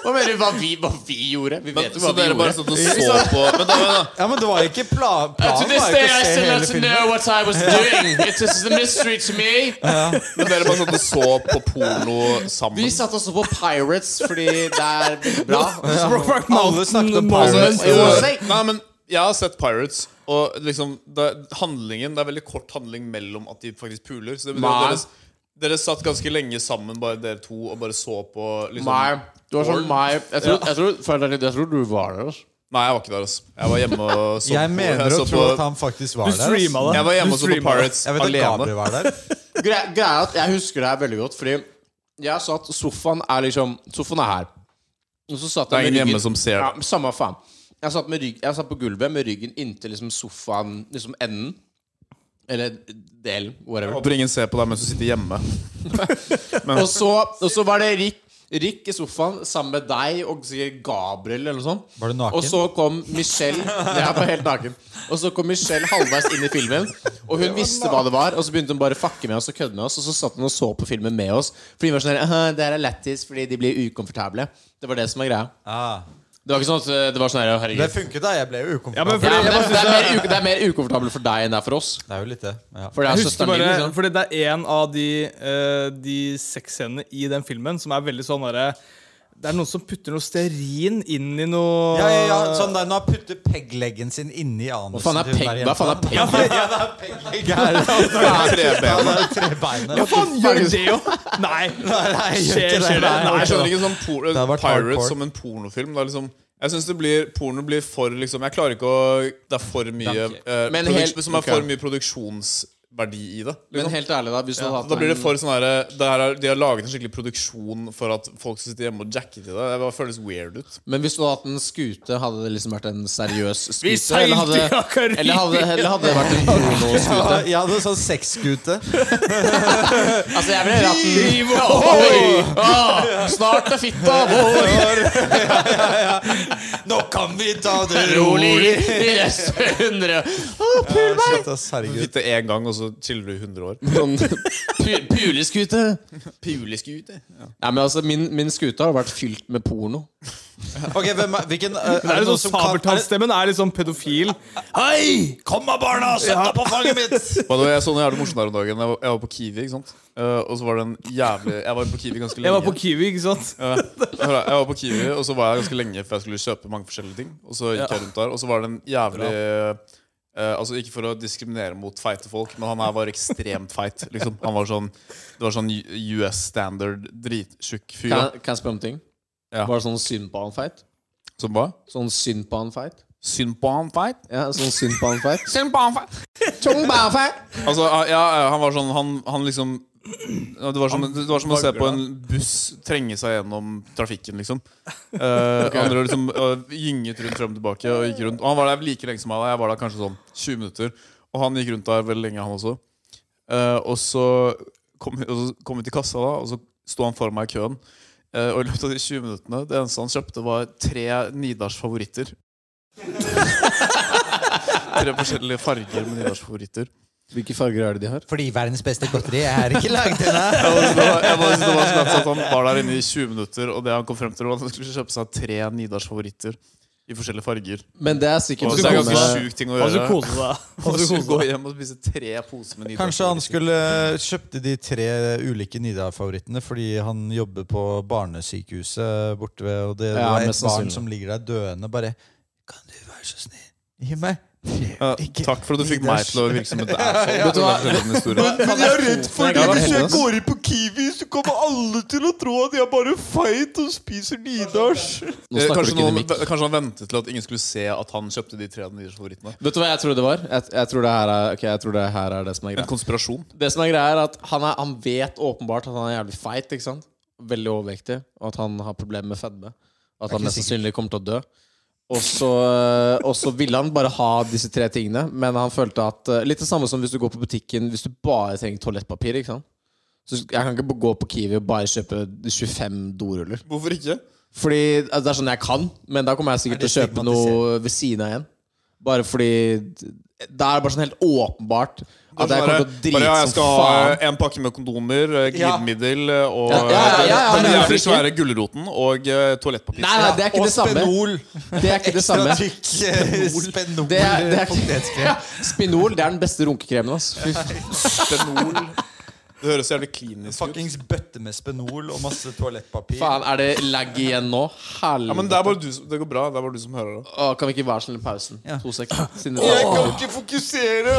S2: Hva mener du hva vi, hva vi gjorde? Vi
S1: Men,
S2: vet jo
S1: så
S2: hva vi
S1: dere bare
S2: gjorde.
S1: satt og så på Men da, men da.
S4: Ja, men det var ikke pla planen. Var jo ikke å se hele filmen.
S2: what I was doing. It is a mystery to me.
S1: Men dere bare satt og så på porno sammen.
S2: Vi satt også på Pirates fordi det er bra.
S3: Brokeback
S4: Alle snakket
S3: Mountain
S4: om Pirates.
S1: Jo,
S2: Jo,
S1: nei, nei, men jeg har sett Pirates, og liksom det, handlingen Det er veldig kort handling mellom at de faktisk puler. Så det betyr
S2: Nei.
S1: at dere, dere satt ganske lenge sammen, bare dere to, og bare så på. Liksom.
S2: Nei, du var sånn meg jeg, tror- jeg, tror- foreldrene dine- jeg tror du var der. altså.
S1: Nei, jeg var ikke der, altså. Jeg var hjemme og så
S8: Jeg
S1: på-
S8: mener
S1: så
S8: og tror
S1: på-
S8: at han faktisk var
S3: Du
S8: der.
S4: altså.
S8: ass.
S3: streama det.
S1: Jeg var hjemme
S3: Du
S1: og så på
S3: streama det.
S1: Pirates
S8: Jeg vet at
S1: alene.
S8: Gabriel var der.
S2: Gre greia er at jeg husker det her veldig godt, fordi jeg sa at sofaen er liksom Sofaen er her. Og så satt
S1: Det er
S2: jeg med
S1: ingen
S2: ryggen
S1: hjemme som ser
S2: ja,
S1: det.
S2: men Samme faen. Jeg satt, med rygg, jeg satt på gulvet med ryggen inntil liksom sofaen, liksom enden. Eller delen, whatever.
S1: Håper ingen ser på deg mens du sitter hjemme.
S2: Og så, og så var det Rick, Rick i sofaen sammen med deg og sikkert Gabriel eller noe sånt.
S4: Var du naken?
S2: Og så kom Michelle Jeg var helt naken. Og så kom Michelle halvveis inn i filmen, og hun visste hva det var. Og så begynte hun bare å fucke med oss og kødde med oss, og så satt hun og så på filmen med oss. Fordi hun var sånn her, «Aha, Det her er lættis fordi de blir ukomfortable. Det var det som var greia.
S4: Ah.
S2: Det var ikke sånn at eh, det var sånn her, «Å, herregud.
S8: Det funket, da. Jeg ble jo
S3: Ja, men
S8: ukomfortabel.
S3: fordi
S2: Ja, men
S3: jeg
S2: det, er, det,
S3: bare synes
S2: er mer,
S3: jeg-
S2: uko- det er mer ukomfortabelt for deg enn det er for oss.
S8: Det er jo litt det. Ja.
S2: For det
S3: Jeg
S2: er
S3: husker
S2: søsteren din.
S3: bare,
S2: Liksom.
S3: fordi Det er en av de, uh, de sexscenene i den filmen som er veldig sånn derre Det er noen som putter noe stearin inn i noe
S8: Ja, ja, ja, sånn der når han putter peggleggen sin inni anusen
S2: Hva faen er
S8: til
S2: peng?
S8: hver
S2: Hva faen er
S8: jente.
S2: peng?
S8: Ja, for- ja, det er pegglegg her. Ja, det er trebeinet.
S3: Hva faen gjør det jo? Nei.
S8: Nei, jeg gjør ikke
S3: Skjer- skjer
S8: det. Nei, jeg
S1: Nei,
S3: det?
S1: jeg skjønner
S8: skjønner
S1: ikke sånn por
S8: hadde vært hardcore.
S1: Pirates som en pornofilm. Det er liksom jeg synes det blir, Porno blir for liksom Jeg klarer ikke å Det er for mye eh,
S2: Men
S1: produks-
S2: helt-
S1: Som er
S2: ok.
S1: for mye produksjonsverdi i det.
S2: Men helt ærlig, da. Hvis du hadde hatt
S1: Liksom. Da blir det
S2: en-
S1: for sånn her, det her er, De har laget en skikkelig produksjon for at folk skal sitte hjemme og jacke til det. Det bare føles weird ut.
S2: Men hvis du hadde hatt en skute, hadde det liksom vært en seriøs skute?
S3: Vi
S2: eller, hadde,
S3: seilte fra Karibien!
S2: eller, hadde, eller hadde det vært en pornoskute?
S8: Jeg hadde sånn sexskute.
S2: Altså, jeg ville hatt en Oi! Ah, Snart er fitta vår!
S8: Nå kan vi ta det
S2: Rolig i resten
S8: Pul meg! Herregud.
S1: Sitte én gang, og så chiller du i 100 år.
S2: Sånn pu- Puleskute. Puleskute? Ja, men altså, min, min skute har vært fylt med porno.
S8: Ok, hvem er, hvilken, eh,
S3: Det
S8: er
S3: er
S8: det
S3: sånn
S8: noen som kan er
S3: Sabeltannstemmen er litt sånn pedofil.
S8: Hei! Kom da, barna! Sett deg på fanget mitt!
S1: By the way, jeg så noe jævlig morsomt her om dagen. Jeg var, jeg var på Kiwi, ikke sant. Eh, og så var det en jævlig Jeg var på Kiwi ganske lenge.
S3: Jeg var på Kiwi, ikke sant?
S1: Ja. Hør da, Jeg var på Kiwi, og så var jeg ganske lenge før jeg skulle kjøpe mange forskjellige ting. Og så gikk jeg rundt der, og så var det en jævlig eh, Altså Ikke for å diskriminere mot feite folk, men han her var ekstremt feit. Liksom. Han var sånn Det var sånn U- US standard drittjukk fyr.
S2: Kan,
S1: da.
S2: kan jeg spørre om ting?
S1: Ja.
S2: Var det sånn synd på han-feit?
S1: Som hva?
S2: Sånn synd på han-feit?
S1: Synd på han feit.
S2: Ja, sånn synd på han-feit?
S1: Synd på han feit.
S2: Tung på han-feit!
S1: Altså, ja, ja, han var sånn Han, han liksom ja, det var, som, det var som å se på en buss trenge seg gjennom trafikken, liksom. Eh, Han drev liksom eh, gynget rundt frem og tilbake. Og gikk rundt Og han var der like lenge som meg. da. Jeg var der kanskje sånn 20 minutter. Og han gikk rundt der veldig lenge, han også. Eh, og så kom, og så kom vi til kassa, da og så sto han foran meg i køen. Eh, og i løpet av de 20 minuttene Det eneste han kjøpte, var tre Nidars favoritter. tre forskjellige farger med Nidars favoritter.
S2: Hvilke farger er det de har?
S8: Fordi verdens beste godteri er ikke laget ennå.
S1: Jeg bare- jeg bare synes det var så lett at Han var der inne i 20 minutter, og det han kom frem til, var at han skulle kjøpe seg tre Nidars favoritter i forskjellige farger.
S2: Men det er
S1: Og
S2: sikkert
S1: det er
S2: noe
S1: ganske
S2: med-
S1: sjuk ting å
S3: Og så
S1: gjøre.
S3: kose deg.
S1: Og så gå hjem og spise tre poser med Nidars
S8: Kanskje han
S1: favoritter.
S8: skulle kjøpte de tre ulike Nidar-favorittene fordi han jobber på barnesykehuset borte ved, og det, det
S2: Ja,
S8: var
S2: mest
S8: et barn
S2: sannsynlig.
S8: som ligger der døende, bare Kan du være så snill gi meg tre
S1: Ja,
S8: ulike
S1: takk for at du fikk meg til å virke som et asshole.
S2: Vet du hva?
S1: Det er en
S8: Men
S1: historie.
S8: jeg er redd for
S2: Ja, det er heldig, ass.
S8: går inn på Kiwi, så kommer alle til å tro at jeg bare feit og spiser Nidars.
S2: Nå snakker du
S1: Kanskje,
S2: ikke inn i
S1: noen,
S2: mikken.
S1: kanskje han ventet til at ingen skulle se at han kjøpte de tre Nidars favorittene.
S2: Vet du hva jeg tror det var? Jeg, jeg, tror, det her er, ok, jeg tror det her er det som er
S1: En
S2: greia.
S1: konspirasjon.
S2: Det som er greia er at han, er, han vet åpenbart at han er jævlig feit. ikke sant? Veldig overvektig. Og at han har problemer med fedme. Og at han mest sannsynlig kommer til å dø. Og så, eh, og så ville han bare ha disse tre tingene, men han følte at eh, Litt det samme som hvis du går på butikken hvis du bare trenger toalettpapir. ikke sant? Så Jeg kan ikke gå på Kiwi og bare kjøpe 25 doruller.
S1: Hvorfor ikke?
S2: Fordi altså, Det er sånn jeg kan, men da kommer jeg sikkert
S8: Er
S2: til
S8: det
S2: å kjøpe noe ved siden av igjen. Bare fordi Da er det bare sånn helt åpenbart at jeg kommer til å
S1: Altså, Bare,
S2: drite
S1: ja, jeg
S2: som
S1: skal ha
S2: faen.
S1: en pakke med kondomer, eh,
S8: Ja.
S1: glidemiddel eh, og
S2: Ja, ja, ja, ja, ja,
S1: den
S2: ja,
S1: jævlig
S2: hvorfor
S1: svære gulroten og eh, toalettpapir.
S2: Nei, nei, det er ikke
S8: Og
S2: det samme.
S8: Spenol.
S2: Det er ikke det samme.
S8: Ekstra tykk eh, Spenol.
S2: Det er, det er
S8: potetkrem.
S2: ikke, Spinol det er den beste runkekremen. ass. Fy faen.
S1: Spenol. Det høres jævlig klinisk ut.
S8: Fuckings bøtte med Spenol og masse toalettpapir.
S2: Faen, er det lag igjen nå?
S1: Ja, men
S2: Helvete.
S1: det, er bare du, som- det går bra. Det er bare du som hører det.
S2: Å, Kan vi ikke være så snill i pausen?
S8: Ja.
S2: To sek. Siden det er-
S8: ikke fokusere!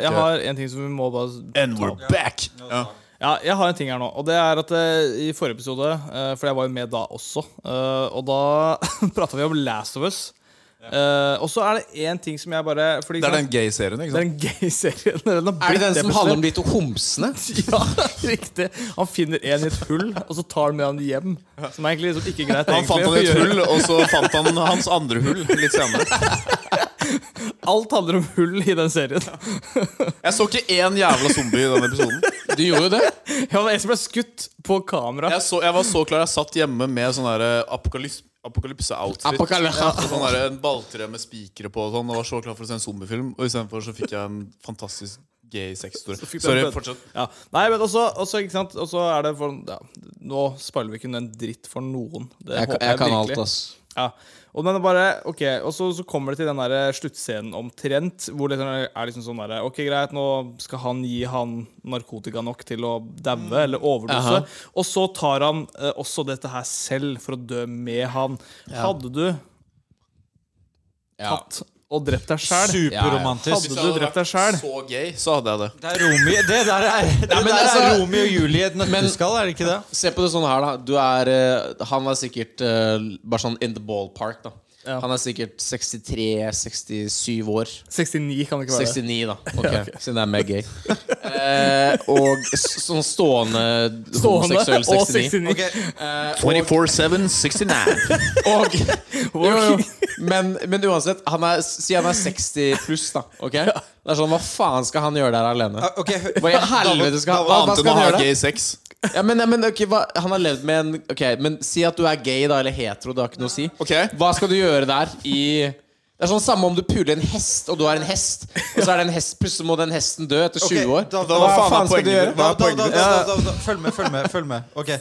S3: Jeg har en ting som vi må bare
S1: And we're back! Ja.
S3: Ja, jeg har en ting her nå, og det er at eh, i forrige episode, eh, for jeg var jo med da også, eh, og da prata vi om Last of Us. Eh, og så er det én ting som jeg bare fordi,
S1: Det er den gay-serien, ikke
S3: det er
S1: sant?
S3: den gay-serien. Den har
S2: Er det
S3: blitt
S2: den som
S3: plutselig.
S2: handler om de to homsene?
S3: Ja, riktig. Han finner en i et hull, og så tar han med han hjem. Som er egentlig liksom ikke greit.
S1: Han fant han i
S3: egentlig,
S1: et
S3: å gjøre.
S1: hull, og så fant han hans andre hull litt senere.
S3: Alt handler om hull i den serien.
S1: Jeg så ikke én jævla zombie i den episoden.
S2: Du gjorde jo det.
S3: Ja, men En som ble skutt på kamera.
S1: Jeg, så, jeg var så klar. Jeg satt hjemme med sånn der apokalyps- apokalypse-outfit.
S2: Apokalypse.
S1: Og Sånn der, en balltre med spikere på og sånn. Og var så klar for å se en zombiefilm. Og istedenfor så fikk jeg en fantastisk gay sexhistorie.
S3: fikk du
S1: Sorry,
S3: en bønn.
S1: fortsett.
S3: Ja. Nei, men også, også, ikke sant? også er det for, ja, Nå spoiler vi ikke en dritt for noen. Det
S2: Jeg,
S3: håper
S2: jeg kan alt, altså.
S3: virkelig.
S2: ass.
S3: Ja. Og, men det er bare, ok, og så, så kommer det til den der sluttscenen omtrent, hvor det er liksom sånn der, Ok, greit, nå skal han gi han narkotika nok til å daue eller overdose.
S2: Aha.
S3: Og så tar han eh, også dette her selv for å dø med han. Hadde du
S2: Ja.
S3: tatt og drept deg sjæl
S9: Superromantisk.
S3: Hadde du drept deg sjæl?
S1: Så gay, så hadde jeg det.
S9: Det er Romi Det der er, det
S2: men
S9: der er
S2: altså-
S9: Romeo og Julie i et nøtteskall, er det ikke det?
S2: Se på det sånn her, da. Du er, eh, han er sikkert eh, bare sånn in the ballpark, da.
S3: Ja.
S2: Han er sikkert 63-67 år.
S3: 69 kan det ikke være.
S2: 69, da. Ok, Siden det er mer gay. Eh, og s- sånn stående,
S3: Stående
S2: homoseksuell 69.
S3: og 69.
S1: 24-7-69.
S2: Og, jo, jo. Men, men uansett, han er, si han er 60 pluss, da. Ok? Det er sånn, Hva faen skal han gjøre der alene?
S9: Ah,
S2: Hva i helvete skal han Hva, hva
S1: Annet enn å
S2: skal han
S1: ha
S2: gjøre der?
S1: gay sex.
S2: Ja, men, ja, men, ok, hva, han har levd med en Ok, men si at du er gay, da, eller hetero. Det har ikke noe å si.
S1: Ok.
S2: Hva skal du gjøre der i det er sånn samme om du puler en hest, og du har en hest. Og så er det en hest, plutselig må den hesten dø etter 20 år.
S4: Da,
S1: Hva faen er poenget ditt? Hva
S4: Da,
S1: er
S4: da,
S1: poenget
S4: da,
S1: ditt?
S4: da, da, da, følg med, følg med. følg med Ok,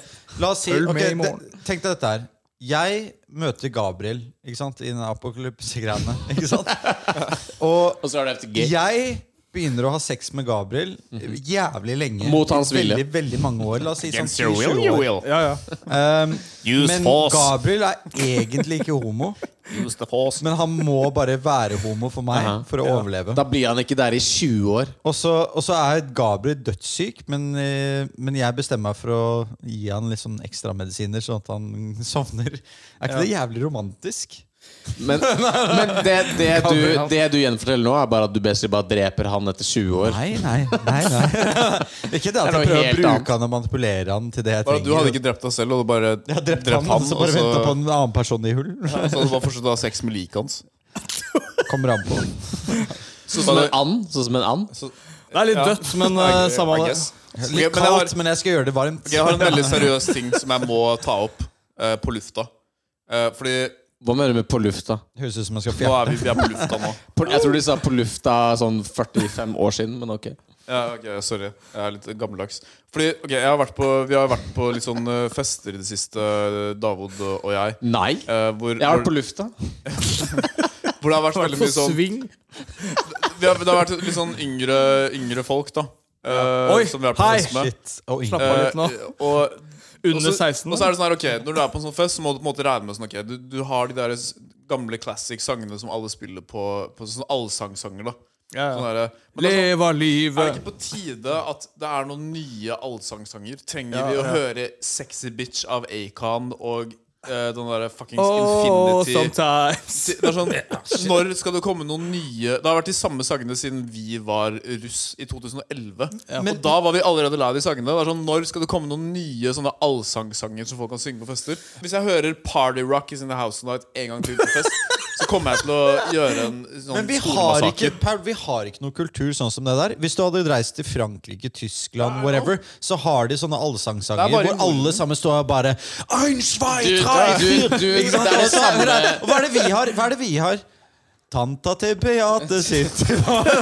S4: La oss si
S3: Følg
S4: ok,
S3: med i
S4: det-
S3: morgen.
S4: Tenk deg dette her. Jeg møter Gabriel ikke sant, i den apokalypse-greiene. Ikke sant? Og
S2: Og så er det efter gay.
S4: Jeg begynner å ha sex med Gabriel jævlig lenge.
S2: Mot hans vilje.
S4: Veldig, veldig mange år. La oss si sånn
S7: Against your will,
S4: 10-20
S7: you
S4: år.
S7: will.
S3: Ja, ja.
S4: Um,
S7: Use
S4: men
S7: force.
S4: Gabriel er egentlig ikke homo.
S7: Use the force.
S4: Men han må bare være homo for meg
S2: Aha.
S4: for å overleve.
S2: Da blir han ikke der i 20 år.
S4: Og så, og så er Gabriel dødssyk, men, eh, men jeg bestemmer meg for å gi han litt sånn ekstramedisiner, sånn at han sovner. Er ikke det jævlig romantisk?
S2: Men, men det, det, du, det du gjenforteller nå, er bare at du basically bare dreper han etter 20 år.
S4: Nei, nei. nei, nei. ikke det
S2: Det
S4: at
S2: er noe
S4: jeg prøver å
S2: helt
S4: bruke
S2: annet.
S4: han og manipulere han til det jeg
S1: Bare
S4: trenger.
S1: at Du hadde ikke drept deg selv, og du bare
S4: jeg har drept, han, og så bare
S1: og
S4: venta på en annen person i hull.
S1: så hadde du bare fortsatt å ha sex med liket hans.
S4: Kommer an på.
S2: Sånn som en and. Sånn som en and.
S3: Det er litt dødt, men eh, samme
S1: I
S3: det.
S1: guess. Ok,
S4: Litt
S1: men jeg har-
S4: kaldt, men jeg skal gjøre det varmt.
S1: Jeg har en veldig seriøs ting som jeg må ta opp eh, på lufta. Eh, fordi
S2: Hva mener du med på lufta?
S4: Høres ut som jeg skal
S1: nå
S4: fjerne
S1: er vi, vi er på lufta nå.
S2: På, jeg tror de sa på lufta sånn 45 år siden, men ok.
S1: Ja, ok, Sorry, jeg er litt gammeldags. Fordi, ok, jeg har vært på, Vi har vært på litt sånn eh, fester i det siste, eh, Davod og jeg.
S2: Nei.
S1: eh, hvor,
S2: Jeg har
S1: hvor,
S2: vært på lufta.
S1: hvor det har vært
S3: Vært
S1: veldig
S3: på
S1: mye sånn
S4: Liksom-
S3: sving.
S1: vi har, Det har vært litt sånn yngre, yngre folk, da. eh,
S3: Oi,
S1: som vi har vært på
S3: hei.
S1: fest med.
S4: Shit. Og
S3: Slapp
S4: Inge.
S3: av litt nå.
S1: Eh, og
S3: Under
S1: Og så-
S3: 16.
S1: Og så er det sånn her, ok, Når du er på en sånn fest, så må du på en måte regne med sånn, ok, du, du har de der s- gamle classic-sangene som alle spiller på, på sånn allsangsanger. da
S3: Ja, ja.
S1: sånn der, Men det er, sånn,
S3: Leva
S1: er det
S3: livet.
S1: ikke på tide at det er noen nye allsangsanger? Trenger
S3: Ja,
S1: vi å
S3: ja.
S1: høre 'Sexy Bitch' av Acon og eh, den derre fuckings
S3: Oh,
S1: Infinity
S3: sometimes.
S1: det er sånn, Når skal det komme noen nye Det har vært de samme sangene siden vi var russ i 2011.
S4: Men-
S1: og da var vi allerede lei av de sangene. Det er sånn, Når skal det komme noen nye sånne allsangsanger som folk kan synge på fester? Hvis jeg hører Party Rock is in the house tonight en gang til på fest, så kommer jeg til å gjøre en sånn
S4: Men vi har, ikke,
S1: stormassaker.
S4: Per, vi har ikke noe kultur sånn som det der. Hvis du hadde reist til Frankrike, Tyskland, whatever, så har de sånne
S1: Det
S4: allsangsanger
S1: er bare
S4: hvor alle sammen står og bare Ein, zwei,
S2: Du,
S4: drei,
S2: du,
S4: vier».
S2: du,
S4: Ikke sant?
S2: det er det
S4: Og så
S2: samme.
S4: det- og Hva er det vi har? Hva er det vi har? Tanta til Beate sitt
S1: Ja, men det,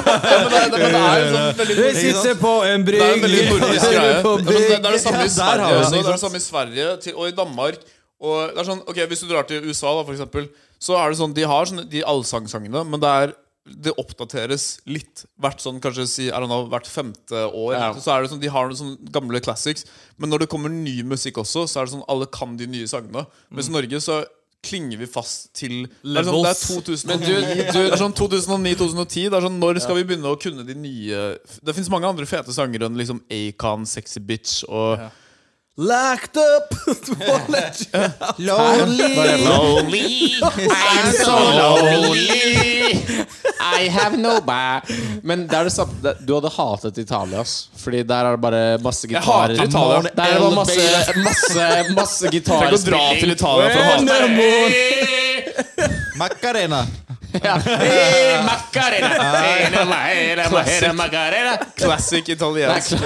S1: er- det, men det er jo sånn veldig
S3: Jeg sitter på en
S1: Det er en veldig
S3: brygg
S1: nordisk greie.
S3: på
S1: Det er, sånn, det er det samme
S4: Ja,
S1: i
S4: der har
S1: Sverige,
S4: vi liksom-
S1: også. det er det
S4: den, ikke sant?
S1: samme i Sverige til, og i Danmark. Og det er sånn, ok, Hvis du drar til USA, da, for eksempel, så er det sånn, de har sånne, de allsangsangene, men det er det oppdateres litt hvert sånn, kanskje si, I don't know, hvert femte år.
S2: Ja.
S1: Så er det sånn, De har noen sånne gamle
S2: Mm.
S1: classics. Men når det kommer ny musikk også, Så er det sånn, alle kan de nye sangene. Mens i Norge så klinger vi fast til Det er sånn, det er
S3: Levels.
S1: 2000
S2: Men du- du-
S1: det er sånn 2009-2010. Det er sånn, Når skal vi begynne å kunne de nye Det fins mange andre fete sanger enn liksom Acon, Sexy Bitch og
S3: Lacked up! Wallet.
S7: Lonely, I'm so lonely.
S2: I have no ba- Men det er det samme det- Du hadde hatet Italia, ass. Fordi der er det bare masse gitarer.
S1: hater Italia.
S2: Der er det bare masse, masse, masse
S1: Tenk å dra
S2: gitarspilling.
S1: til Italia for å ha
S8: Macarena!
S2: Hey, Macarena. Hey, la, la, la, la, la, Macarena.
S1: classic italiensk eh,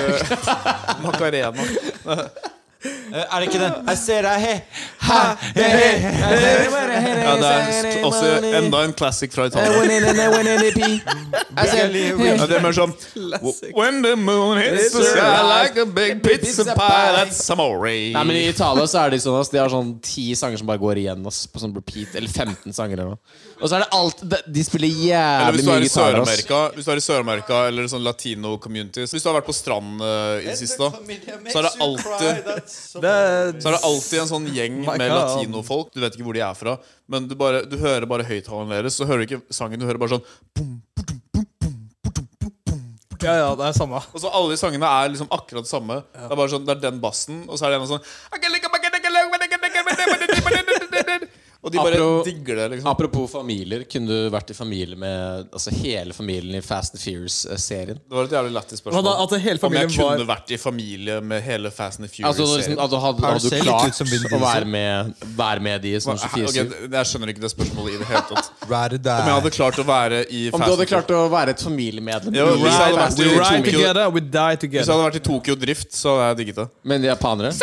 S1: Macarena.
S4: Eh,
S8: Er det ikke den? Jeg ser deg, he!
S1: Ja, det er også enda en classic fra Italia. Ja, det er mer sånn When the moon hits the sky like a big pizza pie, that's amore.
S2: Nei, men I Italia så er de sånn ass De har sånn ti sanger som bare går igjen ass på sånn repeat. Eller 15 sanger eller noe. Og så er det alt de- De spiller
S1: Eller
S2: jævlig
S1: hvis du er
S2: mye
S1: i
S2: gitarer. ass.
S1: Sør-Amerika Hvis du er i Sør-Amerika eller sånn latino communities Hvis du har vært på strand eh, i det siste, da, så er det alltid Så er det alltid en sånn gjeng med
S3: God.
S1: latinofolk. Du vet ikke hvor de er fra, men du, bare, du hører bare høyttaleren deres. Så hører du ikke sangen, du hører bare sånn boom, boom, boom, boom, boom, boom, boom.
S3: Ja, ja, det er samme.
S1: Og så alle de sangene er liksom akkurat det samme. Det er bare sånn, det er den bassen, og så er det en sånn Og de bare
S2: Apro-
S1: digger det, liksom.
S2: Apropos familier, kunne du vært i familie med altså hele familien i Fast and Furious-serien?
S1: Det var et jævlig lættis
S3: At,
S1: spørsmål.
S3: at hele
S1: Om jeg
S3: familien var
S1: kunne vært i familie med hele Fast and the Furious.
S2: Altså, liksom, altså hadde,
S8: Har du
S2: hadde du
S8: selv litt ut
S2: klart
S8: som Vin
S2: å
S8: Diesel?
S2: være med, være med de som 24
S1: Ok, det- jeg skjønner ikke det spørsmålet i det hele tatt.
S8: Right
S1: Om jeg hadde klart å være i
S2: Om
S1: Fast
S2: du hadde
S1: and
S2: klart å være et familiemedlem
S1: Ja,
S2: i
S1: hvis jeg hadde vært
S2: Fast
S1: i-
S2: and
S3: We
S2: Furious
S1: Right.
S3: ride
S1: Tokyo.
S3: together, we die
S1: Hvis jeg
S3: together.
S1: hadde vært i Tokyo Drift, så hadde jeg digget det.
S2: Men de er panere?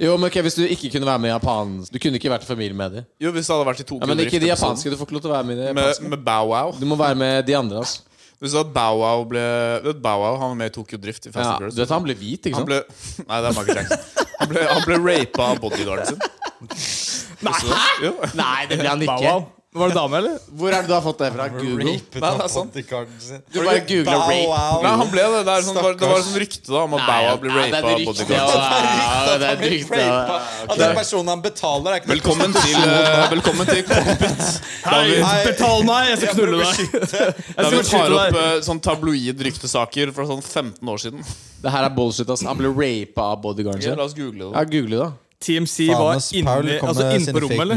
S2: Jo, men ok, Hvis du ikke kunne være med i Japan Du kunne ikke vært i familie med de
S1: Jo, hvis jeg hadde vært i Tokyo
S2: Ja, men
S1: Drift
S2: ikke de
S1: episoden.
S2: japanske. Du får ikke lov til å være med i de
S1: Med,
S2: japanske.
S1: med Bow Wow.
S2: Du må være med de andre. altså
S1: Hvis at Bow Wow ble vet du, Bow Wow han var med i Tokyo Drift i Fast
S2: ja,
S1: and
S2: Du
S1: Furious.
S2: vet han ble hvit, ikke
S1: Han
S2: sant?
S1: ble Nei, det er Michael Jackson. Han ble, han ble rapa av bodyguarden sin. Nei, jo.
S2: Nei, det ble han
S3: Wow,
S2: ikke.
S3: wow. Var det dame, eller?
S2: Hvor er det du har fått det fra? Google?
S1: Nei, det er sant.
S2: Du bare googla rape.
S1: Nei, han ble det. Det, er sånn, det var- det var et sånt rykte da om at Bow Wow ble
S2: Nei,
S1: rapa av
S2: det er
S1: bodyguarden.
S2: ryktet. Det er ryktet.
S8: At den personen han betaler, er ikke
S1: Velkommen til, eh, velkommen til Cockpit. Da vi,
S3: Hei, betal meg, jeg skal knulle deg!
S1: da
S3: Jeg skal
S1: vi tar
S3: beskytte
S1: opp
S3: deg.
S1: eh, sånn tabloid ryktesaker fra sånn 15 år siden.
S2: Det her er bullshit. ass Han ble rapa av bodyguarden
S1: Ja,
S2: sin.
S1: la oss google
S2: Ja,
S1: det.
S2: Google, da.
S1: eh,
S3: TMC var inne, altså inne på rommet, eller?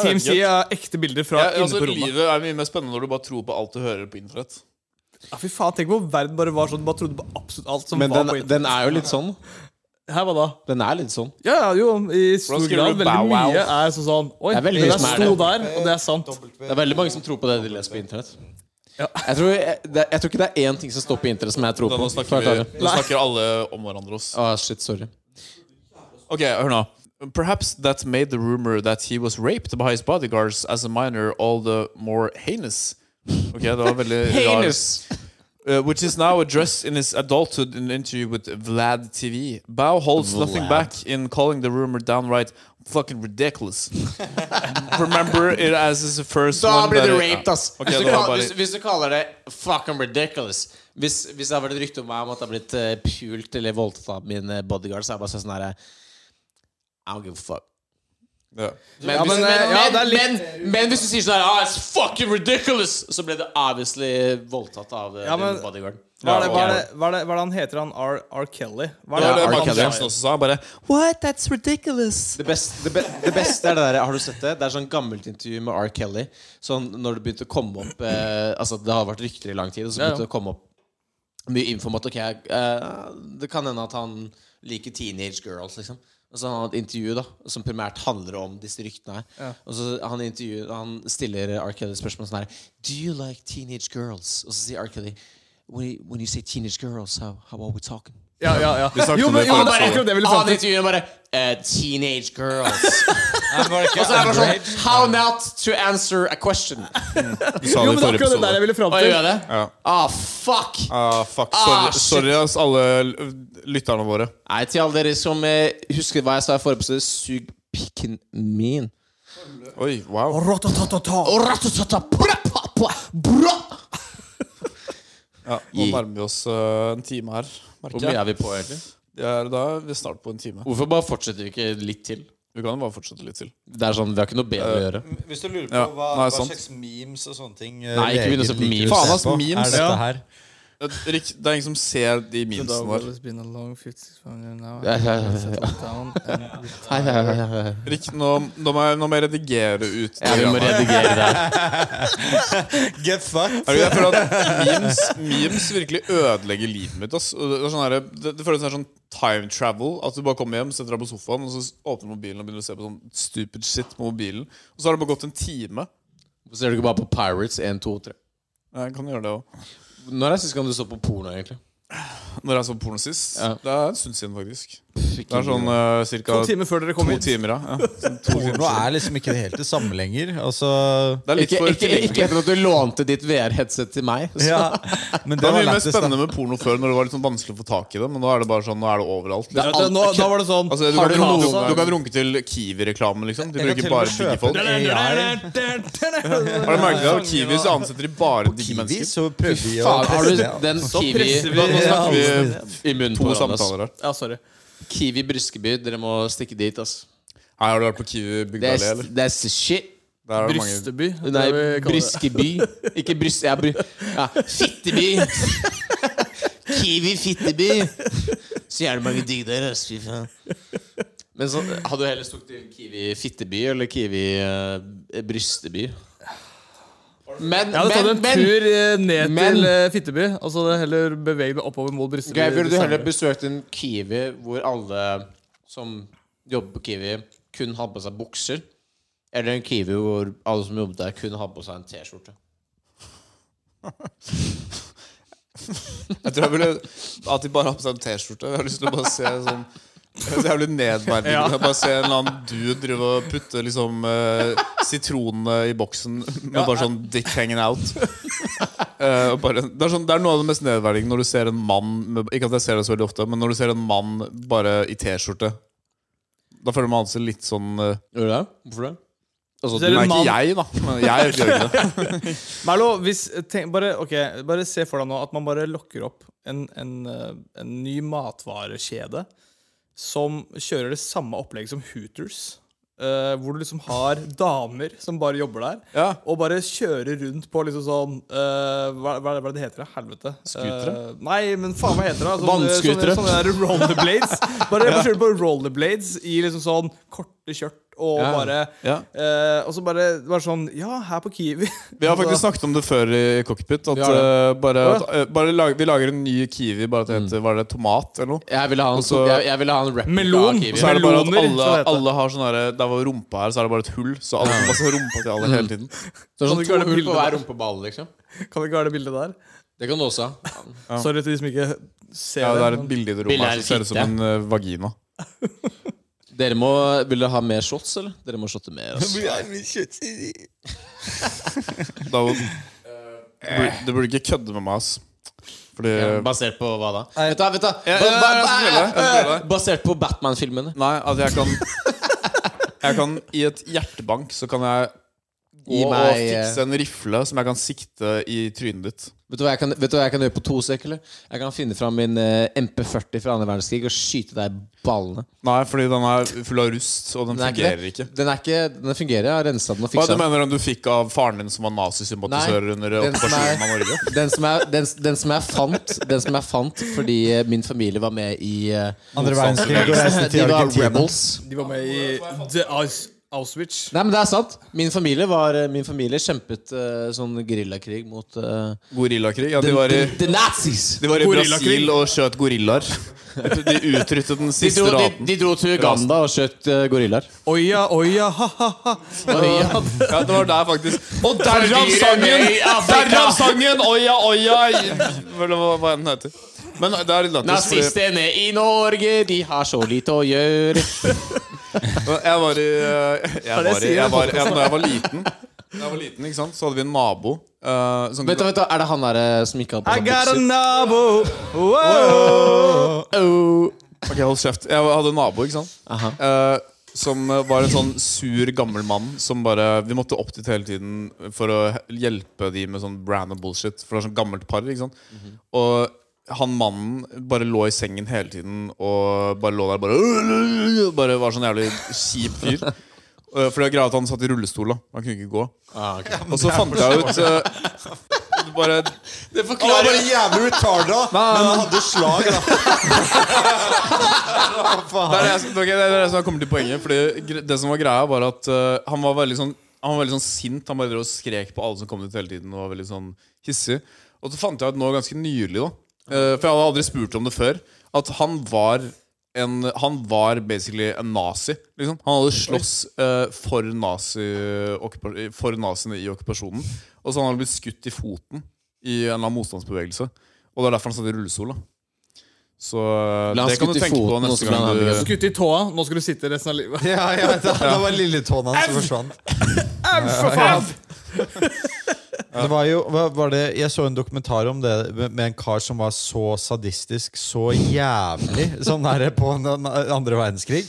S3: TMC er ekte bilder fra
S1: Ja,
S3: inne
S1: altså,
S3: på rommet.
S1: livet er mye mer spennende når du bare tror på alt du hører på internett.
S3: Ja, fy faen, Tenk hvor verden bare var sånn. Du bare trodde på absolutt alt som
S2: Men
S3: var
S2: den,
S3: på internett.
S2: den er jo litt sånn.
S3: Her, hva da?
S2: Den er litt sånn.
S3: Ja, ja, jo, i stor
S1: Hvordan skriver
S3: grad.
S1: du
S3: Veldig
S1: bow wow?
S3: mye er sånn sånn Oi,
S2: Det
S3: det
S2: er veldig mye
S3: der
S2: som er
S3: sto
S2: det.
S3: der, og det er sant.
S2: Det er veldig mange som tror på det de leser på internett. Jeg, tror, jeg, det- jeg tror ikke det er én ting som står på internett som jeg tror
S1: Da,
S2: på.
S1: nå,
S2: Klart
S1: snakker
S2: er
S1: vi,
S2: det.
S1: nå snakker alle om hverandre. Oss.
S2: Ah, shit, sorry.
S1: Ok, hør nå. Perhaps that made the rumor that he was raped by his bodyguards as a minor all the more heinous. Ok, det var veldig rar. Uh, which is now addressed in his adulthood in an interview with Vlad TV. Bao holds nothing back in calling the rumor downright fucking ridiculous. Remember it as his first
S2: Da
S1: one.
S2: blir
S1: that
S2: det
S1: it-
S2: raped, ass.
S1: Ok,
S2: hvis, du
S1: det var
S2: kal-
S1: bare-
S2: hvis, hvis du kaller det fucking ridiculous Hvis, hvis det har vært et rykte om meg om at jeg har blitt eh, pult eller voldtatt av min eh, bodyguard, så er jeg bare sånn her eh, I don't give a fuck.
S1: Ja.
S2: Men,
S3: Ja,
S2: hvis,
S3: men,
S2: men,
S3: eh, ja,
S2: men,
S3: det er
S2: men, men hvis du sier sånn her ah, It's fucking ridiculous! Så ble det obviously voldtatt av eh,
S3: Ja, men-
S2: din bodyguard.
S3: Hva er det, hva er det, hva er det, hva er det han heter, han R. R. Kelly? Hva
S1: Det var
S3: er
S2: Ja,
S1: det
S2: R.
S1: Michael
S2: Kelly.
S1: Jackson også sa. Bare What? That's ridiculous.
S2: Det, best, det, be, det beste er det der Har du sett det? Det er sånn gammelt intervju med R. Kelly. Sånn når det begynte å komme opp eh, Altså Det har vært rykter i lang tid, og så
S3: Ja, ja.
S2: begynte det å komme opp mye info om at ok, eh, det kan hende at han liker teenage girls, liksom. Og så har han et intervju da som primært handler om disse ryktene her. Og så han, intervjuer- han stiller R. Kelly spørsmål sånn her Do you like teenage girls? Og så sier R. Kelly When you, when you say teenage girls, how, how are we talking?
S3: Ja, ja, ja.
S1: snakket
S3: Jo,
S1: om
S3: men,
S1: det
S3: jo,
S1: før
S3: men det er
S1: episoden.
S3: akkurat det jeg ville
S2: Han
S3: fram til.
S2: intervjuer bare eh, Teenage girls.
S8: Og
S2: Så er det bare sånn How not to answer a question?
S1: Du sa
S3: Jo,
S1: det i
S3: men det er
S1: forrige
S3: akkurat det der
S1: episode.
S3: jeg ville fram
S2: Å, gjør jeg
S3: til.
S2: det?
S1: Ja.
S2: Ah, fuck!
S1: Ah, fuck. Sorry,
S2: Ah, shit.
S1: sorry ass, alle l- lytterne våre.
S2: Nei, til alle dere som eh, husker hva jeg sa i forrige episode, sug pikken min.
S1: Oi,
S3: sånn-
S1: wow.
S2: Og ratatata, bra, pa, pa, bra.
S1: Ja, nå nærmer vi oss eh, en time her,
S2: Hvor
S1: merker
S2: mye
S1: jeg.
S2: er vi på, egentlig?
S1: Vi er da vi er snart på en time.
S2: Hvorfor bare fortsetter vi ikke litt til?
S1: Oh, Vi kan jo bare fortsette litt til.
S2: Det er sånn, Vi har ikke noe bedre å gjøre.
S8: Hvis du lurer på
S1: Ja,
S8: hva, hva
S1: nei, sant.
S8: slags memes og sånne ting eh,
S2: Nei, ikke
S8: leger
S2: begynn å se på
S8: liker
S2: memes.
S8: å se
S1: Faen, ass,
S8: på,
S1: memes.
S8: Er dette
S1: Ja.
S8: her
S1: Det er rikt- det er ingen som ser de memesene våre.
S2: Ja, ja, ja, Hei, hei, hei, hei.
S1: Rikt, nå, nå, må jeg, nå må jeg redigere ut det
S2: Ja, vi må
S1: greiene.
S2: redigere det her.
S8: Get fucked!
S1: Er det, jeg føler at memes, memes virkelig ødelegger livet mitt. Ass. Og Det, det, er sånn her, det, det føles som det er sånn time travel. At du bare kommer hjem, setter deg på sofaen, og så åpner mobilen og begynner å se på sånn stupid shit på mobilen. Og så har det bare gått en time.
S2: Hvorfor ser du ikke bare på Pirates 1, 2, 3?
S1: Jeg kan gjøre det også.
S2: Når er sist gang du så på porno, egentlig?
S1: Når jeg så porno sist
S2: Ja.
S1: Det er en stund siden, faktisk. Det er sånn uh, cirka
S3: To timer før dere
S1: to
S3: kom hit.
S1: timer, ja. ja. Sånn to timer
S8: Porno
S1: siden.
S8: er liksom ikke helt det samme lenger. Altså
S1: Det er litt
S2: Ikke,
S1: for
S2: ikke, ikke etter at du lånte ditt VR-headset til meg. Så.
S8: ja, men det,
S1: Det var
S8: var
S1: mye mer
S8: lettest, da.
S1: spennende med porno før, når det var litt sånn vanskelig å få tak i det. Men nå er det bare sånn, nå er det overalt.
S3: Ja,
S1: Liksom.
S3: da- nå, da var det sånn
S1: Altså, du,
S2: Har
S1: kan,
S2: du
S1: runke-
S2: noen-
S1: du kan runke til Kiwi-reklamen, liksom. De
S8: Jeg kan til og
S1: bruker
S8: med
S1: bare digge
S8: kjøpe
S1: folk.
S8: det.
S1: Har du merket det?
S3: Sånn-
S1: Av Kiwi så ansetter de bare digge
S8: Kiwi,
S1: mennesker.
S8: så prøvde vi å
S2: Faen, har du
S8: presse det.
S2: den
S3: Så
S2: Kiwi
S3: presser vi
S1: Da, nå snakker vi
S2: i munnen
S1: to
S2: på hverandre, ass.
S1: samtaler her.
S3: Ja, sorry.
S2: Kiwi Briskeby, dere må stikke dit, ass.
S1: Nei, har du vært på Kiwi
S2: Det
S1: Bygdalé,
S2: er,
S1: eller?
S2: det er shit.
S1: Der er det mange
S3: Brysteby. det er
S2: Nei,
S3: det vi kaller det.
S2: Briskeby. Ikke Bryst... Ja, bry, ja. Fitteby! Kiwi Fitteby. Så jævlig mange digg der, ass. Fy faen. Men så, hadde du heller stukket til Kiwi Fitteby eller Kiwi eh, Brysteby? Men,
S3: Jeg hadde tatt en
S2: men, men
S3: tur eh, ned
S2: men-
S3: til eh, Fitteby, og så hadde jeg heller beveget meg oppover mot Brysteby.
S2: Ok, Ville du
S3: senere.
S2: heller besøkt en Kiwi hvor alle som jobber på Kiwi, kun hadde på seg bukser? Eller en Kiwi hvor alle som jobbet der, kun hadde på seg en T-skjorte?
S1: Jeg tror jeg ville at de bare har på seg en T-skjorte. Jeg har lyst til å bare se sånn så jævlig nedverdigende.
S3: Ja.
S1: Jeg Bare se en eller annen dude drive og putte liksom eh, sitronene i boksen med bare sånn dick hanging out. Eh, og bare, det, er sånn, det er noe av det mest nedverdigende når du ser en mann med, Ikke at jeg ser det så veldig ofte, men når du ser en mann bare i T-skjorte. Da føler man seg litt sånn eh,
S2: Gjør du det? Hvorfor det? Altså,
S3: Ser
S2: du,
S3: du-
S1: Nei,
S3: en
S1: ikke
S3: mann.
S1: jeg, da. Men jeg gjør ikke det.
S3: Merlo, hvis, tenk, bare, ok, bare se for deg nå at man bare lokker opp en, en, eh, en ny matvarekjede som kjører det samme opplegget som Hooters. eh, hvor du liksom har damer som bare jobber der,
S1: Ja.
S3: og bare kjører rundt på liksom sånn eh, hva, hva, er det- hva er det det heter? da? Helvete.
S1: Skutere?
S3: Eh, nei, men faen, hva heter det? da? Sånn, eh, Sånne-
S2: Vannskutere.
S3: Sånne, sånne der rollerblades. Bare ja. kjører på rollerblades i liksom sånn korte skjørt, og
S2: Ja.
S3: bare
S1: Ja.
S3: eh, Og så bare, bare sånn Ja, her på Kiwi.
S1: Vi har
S3: Altså-
S1: faktisk snakket om det før i Cockpit. At,
S2: Vi har det.
S1: eh, bare,
S3: Å,
S1: at, eh, bare lag, vi lager en ny Kiwi. Bare at det
S2: Mm.
S1: heter Var det tomat eller noe?
S2: jeg ville ha en,
S1: så-
S2: jeg, jeg ville ha en replika
S3: Melon.
S2: av
S1: Og
S2: Kiwi.
S1: så er det bare at
S3: Meloner,
S1: alle,
S3: så heter det.
S1: alle har sånn herre Der hvor rumpa er, så er det bare et hull. Så alle masse rumpa til alle hele tiden.
S2: Så det
S3: Kan du
S2: er sånn
S3: ikke ha det
S2: to hull på
S3: bildet
S2: hver rumpeball, liksom.
S3: Kan det ikke være det bildet der?
S2: Det kan du også ha.
S3: Sorry til de som ikke ser
S1: Ja, det er
S3: men-
S1: et bilde i det
S2: Bildet
S1: rommet her
S2: er
S1: som ser ut som
S2: fitte.
S1: en eh, vagina.
S2: Dere må, Vil dere ha mer shots, eller? Dere må shotte mer. ass.
S1: Da, du,
S3: Eh.
S1: burde, du burde ikke kødde med meg, ass. Fordi
S2: Basert på hva da? Vet du, hva, vet du. hva?
S1: Ja, ja, ja, jeg skal spille, jeg skal spille.
S2: Eh, Basert på Batman-filmene.
S1: Nei, at jeg kan Jeg kan I et hjertebank så kan jeg
S2: Gi
S1: gå og
S2: meg, eh,
S1: fikse en rifle som jeg kan sikte i trynet ditt.
S2: Vet du, hva jeg kan, vet du hva jeg kan gjøre på to sek, eller? Jeg kan finne fram min eh, MP40 fra andre verdenskrig og skyte deg i ballene.
S1: Nei, fordi den er full av rust, og den,
S2: Den er ikke
S1: fungerer
S2: det.
S1: ikke.
S2: Den, er ikke, den fungerer. Jeg har rensa den og
S1: Hva du
S2: fiksa den.
S1: mener du om du fikk av faren din som var nazisympatisør
S2: Nei,
S1: under
S2: den som
S1: okkupasjonen av
S2: er-
S1: Norge?
S2: Den som, jeg, den, den, som jeg fant, den som jeg fant fordi eh, min familie var med i eh,
S8: Andre verdenskrig og reiste
S2: De
S8: til
S2: var
S8: Argentina.
S2: rebels.
S3: De var med i The Aus- Auschwitz.
S2: Nei, men det er sant. Min familie, var, eh, min familie kjempet eh, sånn gerillakrig mot eh,
S1: Gorillakrig? Ja, de var i,
S2: the, the Nazis!
S1: de var i
S3: Gorillakrig.
S1: Brasil og skjøt gorillaer. De utryddet den
S2: De
S1: siste
S2: dro, de,
S1: raten.
S2: de dro til Uganda og skjøt eh, gorillaer.
S3: Oja, oja, ha-ha-ha.
S1: Ja, det var der, faktisk. Og derav sangen!
S2: i Afrika!
S1: Derav sangen! Oia, oia! Eller hva, hva den heter. Men det er litt lættis. fordi-
S2: Nazistene i Norge, de har så lite å gjøre.
S1: Jeg var i eh, Jeg var i
S3: sier
S1: jeg var, jeg, Når jeg var liten, da jeg var liten ikke sant? så hadde vi en nabo eh, som
S2: Vent, da, vent, da, Er det han derre som ikke har på
S3: I
S2: seg
S3: got a
S2: bukser?
S3: nabo. Wow.
S2: Oh.
S1: Ok, hold kjeft. Jeg hadde en nabo, ikke sant?
S2: Aha.
S1: Eh, som eh, var en sånn sur, gammel mann som bare Vi måtte opp dit hele
S2: Mhm.
S1: tiden for å he- hjelpe de med sånn brand og bullshit. For det er sånn gammelt par, ikke sant? Og han mannen bare lå i sengen hele tiden og bare lå der bare Bare var sånn jævlig kjip fyr. Eh, For det er greia at han satt i rullestol, da. Han kunne ikke gå. Og så fant jeg ut eh, Bare
S4: Han var bare jævlig retarda, men han hadde slag. Da.
S1: Det er det, jeg- ok, det er det som kommer til poenget. Fordi gre- det som var greia, var at eh, han var veldig sånn Han var veldig sånn sint. Han bare drev og skrek på alle som kom dit hele tiden. Og var veldig sånn hissig Og så fant jeg ut nå ganske nylig, da eh, for jeg hadde aldri spurt om det før, at han var en, han var basically en nazi. Liksom. Han hadde slåss eh, for, nazi, okkupa- for naziene i okkupasjonen. Og så han hadde blitt skutt i foten i en eller annen motstandsbevegelse. Og det er derfor han satt i rullestol. da Så eh,
S2: Ble han
S1: det kan du
S2: skutt i
S1: tenke
S2: foten,
S1: på
S2: og så
S1: neste
S2: ble han
S1: gang du
S2: handikappet?
S3: Skutt i tåa. Nå skal du sitte resten av livet.
S4: Ja, jeg vet det. det var lilletåen hans som forsvant.
S3: For faen!
S4: Det var jo, hva var det, jeg så en dokumentar om det med med en kar som var så sadistisk, så jævlig, sånn der på den andre verdenskrig.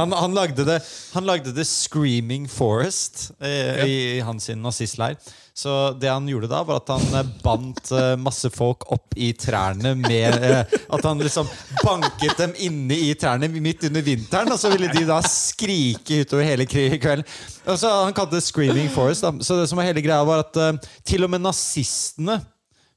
S4: Han, han, lagde det, han lagde det 'Screaming Forest' eh, i hans sin nazistleir. Så det han gjorde da, var at han eh, bandt eh, masse folk opp i trærne med eh, At han liksom banket dem inne i trærne midt under vinteren, og så ville de da skrike utover hele kri- kvelden. Og så Han kalte det 'Screaming Forest'. Da. Så det som var hele greia, var at eh, til og med nazistene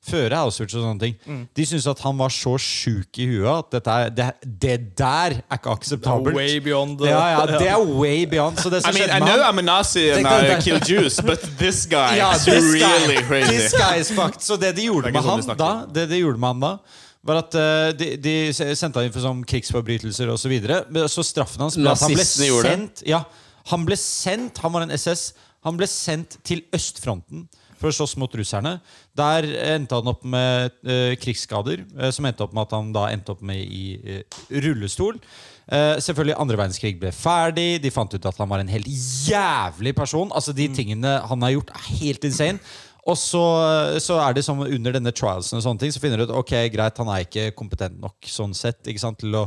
S4: før Auschwitz og sånne ting. De syntes at han var så sjuk i huet at dette er, det, det der er ikke akseptabelt.
S3: Way beyond
S4: ja, ja, det er way beyond. Så det som skjedde med han
S1: I'm a Nazi
S4: and Tenk deg I det.
S1: kill Jews, but this guy
S4: Ja, this guy, this guy is fucked. Så det de
S1: Det
S4: gjorde
S1: er
S4: med
S1: ikke sånn
S4: han
S1: vi snakker.
S4: da, det de gjorde med han da var at eh, de, de s- sendte han inn for sånn krigsforbrytelser osv. Så, videre. Men så straffen hans ble at han ble
S2: Nazistene gjorde det.
S4: sendt ja, Han ble sendt, han var en SS, han ble sendt til østfronten for å slåss mot russerne. Der endte han opp med eh, krigsskader, eh, som endte opp med at han da endte opp med i eh, rullestol. Eh, selvfølgelig Andre verdenskrig ble ferdig, de fant ut at han var en helt jævlig person. Altså
S1: Mm.
S4: De tingene han har gjort, er helt insane. Og så, så er det som under denne trialsen og sånne ting, så finner du ut ok, greit, han er ikke kompetent nok sånn sett ikke sant, til å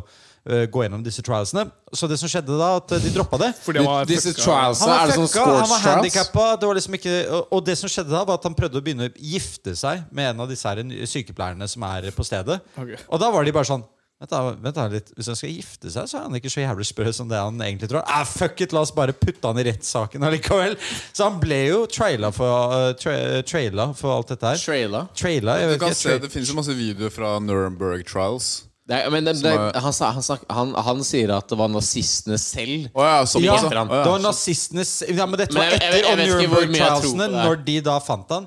S4: øh, gå gjennom disse trialsene. Så det som skjedde da, at de droppa det.
S3: Fordi han var
S2: Disse
S3: fucka.
S2: trialsene,
S4: var
S2: er det sånn
S4: fucka, han
S2: scorch
S4: var
S2: trials?
S4: handikappa. Det var liksom ikke, og- og det som skjedde da, var at han prøvde å begynne å gifte seg med en av disse her nye sykepleierne som er på stedet.
S3: Ok.
S4: Og da var de bare sånn Vent da, vent da litt Hvis han skal gifte seg, så er han ikke så jævlig sprø som det han egentlig tror. Ah, fuck it, La oss bare putte han i rettssaken allikevel. Så han ble jo traila for, uh, tra traila for alt dette her.
S2: Traila.
S4: Traila, jeg
S1: Du
S4: vet
S1: kan
S4: ikke,
S1: se,
S4: tra
S1: Det finnes jo masse videoer fra Nuremberg Trials.
S2: Det er, men det, det,
S1: Som er-
S2: han, sa- han, snak- han, han sier at det var nazistene selv.
S1: Å ja, sånn
S4: ja,
S1: også.
S4: det
S1: Å ja.
S4: var nazistenes Ja, men dette
S2: Men
S4: var
S2: jeg- jeg- jeg
S4: etter og
S2: vet ikke hvor
S4: Nuremberg
S2: mye jeg tror på
S4: Trialsene.
S2: det her.
S4: Når de da fant han,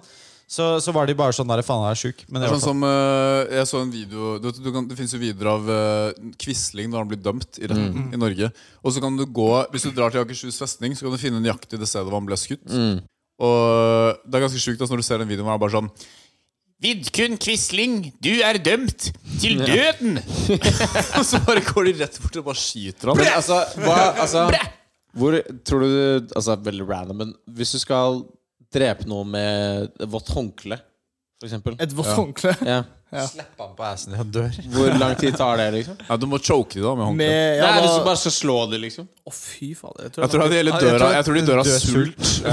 S4: så, så var de bare sånn der Faen, han er sjuk. Men
S1: Det
S4: det
S1: er
S4: var
S1: sånn som eh, Jeg så en video du, vet, du kan, Det finnes jo videoer av eh, Quisling når han blir dømt i retten i Norge. Og så kan du gå Hvis du drar til Akershus festning, så kan du finne nøyaktig det stedet hvor han ble skutt. Og det er ganske sjukt altså, når du ser den videoen hvor han er bare sånn Vidkun Quisling, du er dømt til døden! Og så bare går de rett bort og bare skyter han.
S2: Men altså, hva, altså Hvor tror du Altså, veldig random, men hvis du skal drepe noe med vått håndkle, for eksempel
S3: Et vått håndkle.
S2: ja.
S4: Slapp han på assen han dør.
S2: Hvor lang tid tar det, liksom?
S1: Ja, du må choke de da med håndkle.
S3: Med
S2: Nei,
S3: ja,
S2: hvis du
S3: da,
S2: bare skal slå det, liksom.
S3: Å, fy faen. Jeg
S1: Jeg
S3: tror
S1: tror, at de hele døra, jeg tror de dør av
S4: Dør sult.
S1: sult.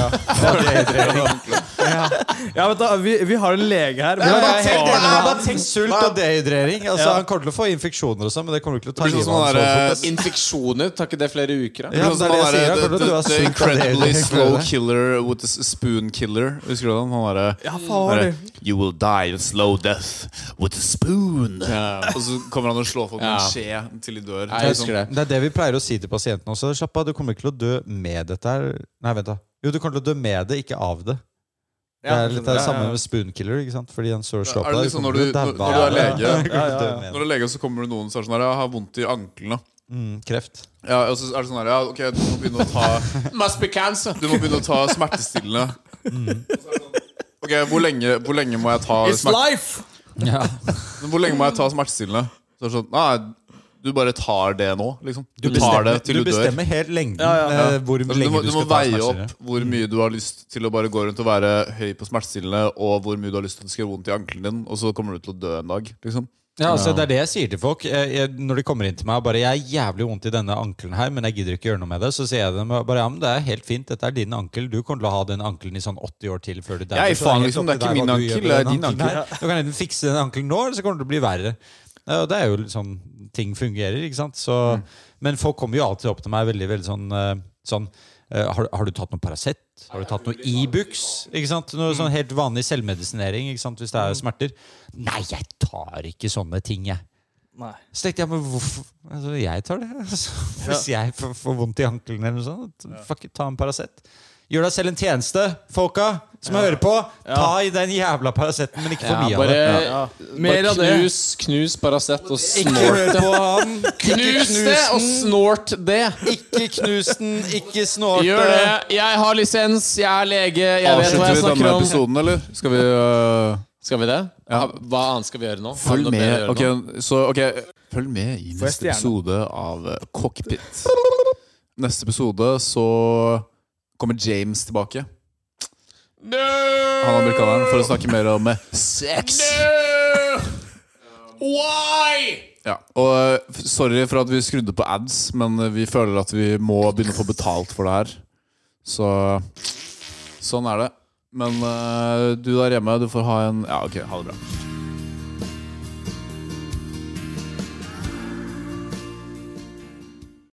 S3: Ja, vet du, vi, vi har en lege her.
S4: Ja,
S3: Vi
S4: jeg
S3: har-
S4: er helt enig med deg. Sult
S2: Ja.
S4: og dehydrering. Altså,
S3: Ja.
S4: Han kommer til å få infeksjoner, og sånn men det kommer ikke til å ta
S1: Det blir sånn
S4: livet
S1: som
S4: av
S1: han
S4: ham.
S2: Eh,
S1: der,
S2: Infeksjoner, tar ikke det flere uker? Da?
S4: Ja,
S1: Sånn
S4: det
S1: som
S4: er det
S1: han
S4: jeg sier.
S1: derre-
S4: Jeg kommer
S1: the,
S4: til å dø av
S1: the, the
S4: sult av
S1: incredibly
S4: dehydrering.
S1: slow killer with the s- spoon killer. Husker du den? Han derre
S3: Ja, faen var det.
S1: You will die a slow death with a spoon. Og så kommer han og slår folk med en skje til de dør. Liksom,
S2: Nei, jeg husker det.
S4: Det er det vi pleier å si til pasientene også. Slapp av, du kommer ikke til å dø med dette her. Nei, vent da. Jo, du kommer til å dø med det, ikke av det. Det
S3: Ja,
S4: er litt
S3: ja,
S4: det
S3: ja.
S4: samme med spoonkiller. ikke sant? Fordi han så og slår
S1: Er
S4: på
S1: det
S4: deg.
S1: liksom
S4: kommer
S1: når du-
S4: til å
S1: når-
S4: daue
S1: når du er
S4: av det.
S1: lege? Ja,
S4: Du kommer til å dø
S3: ja,
S1: Når
S4: med
S1: du er lege, så kommer det noen som er sånn her Jeg har vondt i anklene.
S4: det. Mm, kreft.
S1: Ja, og så er det sånn her Ja, ok, du må begynne å ta
S2: Must be cancer!
S1: Du må begynne å ta smertestillende. Mm. sånn, Ok, hvor lenge, hvor lenge må jeg ta
S3: It's
S1: smerte-
S3: life!
S1: Hvor lenge må jeg ta smertestillende? Så er det sånn, nei, du bare tar det nå, liksom. Du, tar det
S4: bestemmer,
S1: til du, dør.
S4: bestemmer helt lengden. eh, Hvor
S1: Altså, du
S4: lenge
S1: må,
S4: du,
S1: du må
S4: skal ta
S1: veie
S4: smertestillende.
S1: opp hvor mye du har lyst til å bare gå rundt og være høy på smertestillende, og hvor mye du har lyst til at det skal gjøre vondt i ankelen din, og så kommer du til å dø en dag. Liksom.
S4: Ja, altså Det er det jeg sier til folk. Jeg, jeg, når de kommer inn til meg og bare 'Jeg er jævlig vondt i denne ankelen her, men jeg gidder ikke gjøre noe med det', så sier jeg dem bare 'Ja, men det er helt fint. Dette er din ankel. Du kommer til å ha den ankelen i sånn 80 år til før du dauer.'
S1: Jeg er
S4: så
S1: faen
S4: helt
S1: liksom,
S4: opp
S1: det er
S4: til
S1: ikke
S4: deg hva
S1: min
S4: du
S1: ankel,
S4: gjør med
S1: det er
S4: den
S1: din
S4: ankelen her. Du kan enten fikse den ankelen nå, eller så kommer det til å bli verre. Ja, og det er jo sånn ting fungerer, ikke sant. Så, Men folk kommer jo alltid opp til meg veldig, veldig sånn, eh, sånn eh, har, har du tatt noe Paracet? Har du tatt noe Ibux? Ikke sant? Noe sånn helt vanlig selvmedisinering ikke sant? hvis det er smerter. Nei, jeg tar ikke sånne ting, jeg.
S3: Nei.
S4: Så tenkte jeg, men hvorfor altså, Jeg tar det. Altså, hvis jeg får, får vondt i ankelen eller noe sånt, fuck it, ta en Paracet. Gjør deg selv en tjeneste, folka som hører på. Ta i den jævla Paraceten, men ikke for mye
S2: bare,
S4: av det.
S3: Mer
S2: bare
S3: av det.
S2: knus, knus Paracet og
S4: Ikke
S2: snort
S4: hør på han.
S2: Knus det og snort det!
S4: Ikke knus den, ikke snorte.
S2: Gjør det! Jeg har lisens, jeg er lege, jeg vet hva
S1: Avslutter
S2: jeg
S1: vi
S2: snakker
S1: denne
S2: om.
S1: episoden, eller? Skal vi øh,
S2: Skal vi det? Hva annet skal vi gjøre nå? Har vi
S1: Følg
S2: noe bedre
S1: med.
S2: å gjøre
S1: Ok,
S2: nå?
S1: så, ok, følg med i
S3: Får jeg
S1: neste
S3: stjerne?
S1: episode av eh, Cockpit. Neste episode så kommer James tilbake. Han amerikaneren for å snakke mer om eh, sex. Ja, og eh, f- Sorry for at vi skrudde på ads, men eh, vi føler at vi må begynne å få betalt for det her. Så sånn er det. Men eh, du der hjemme, du får ha en Ja, ok, ha det bra.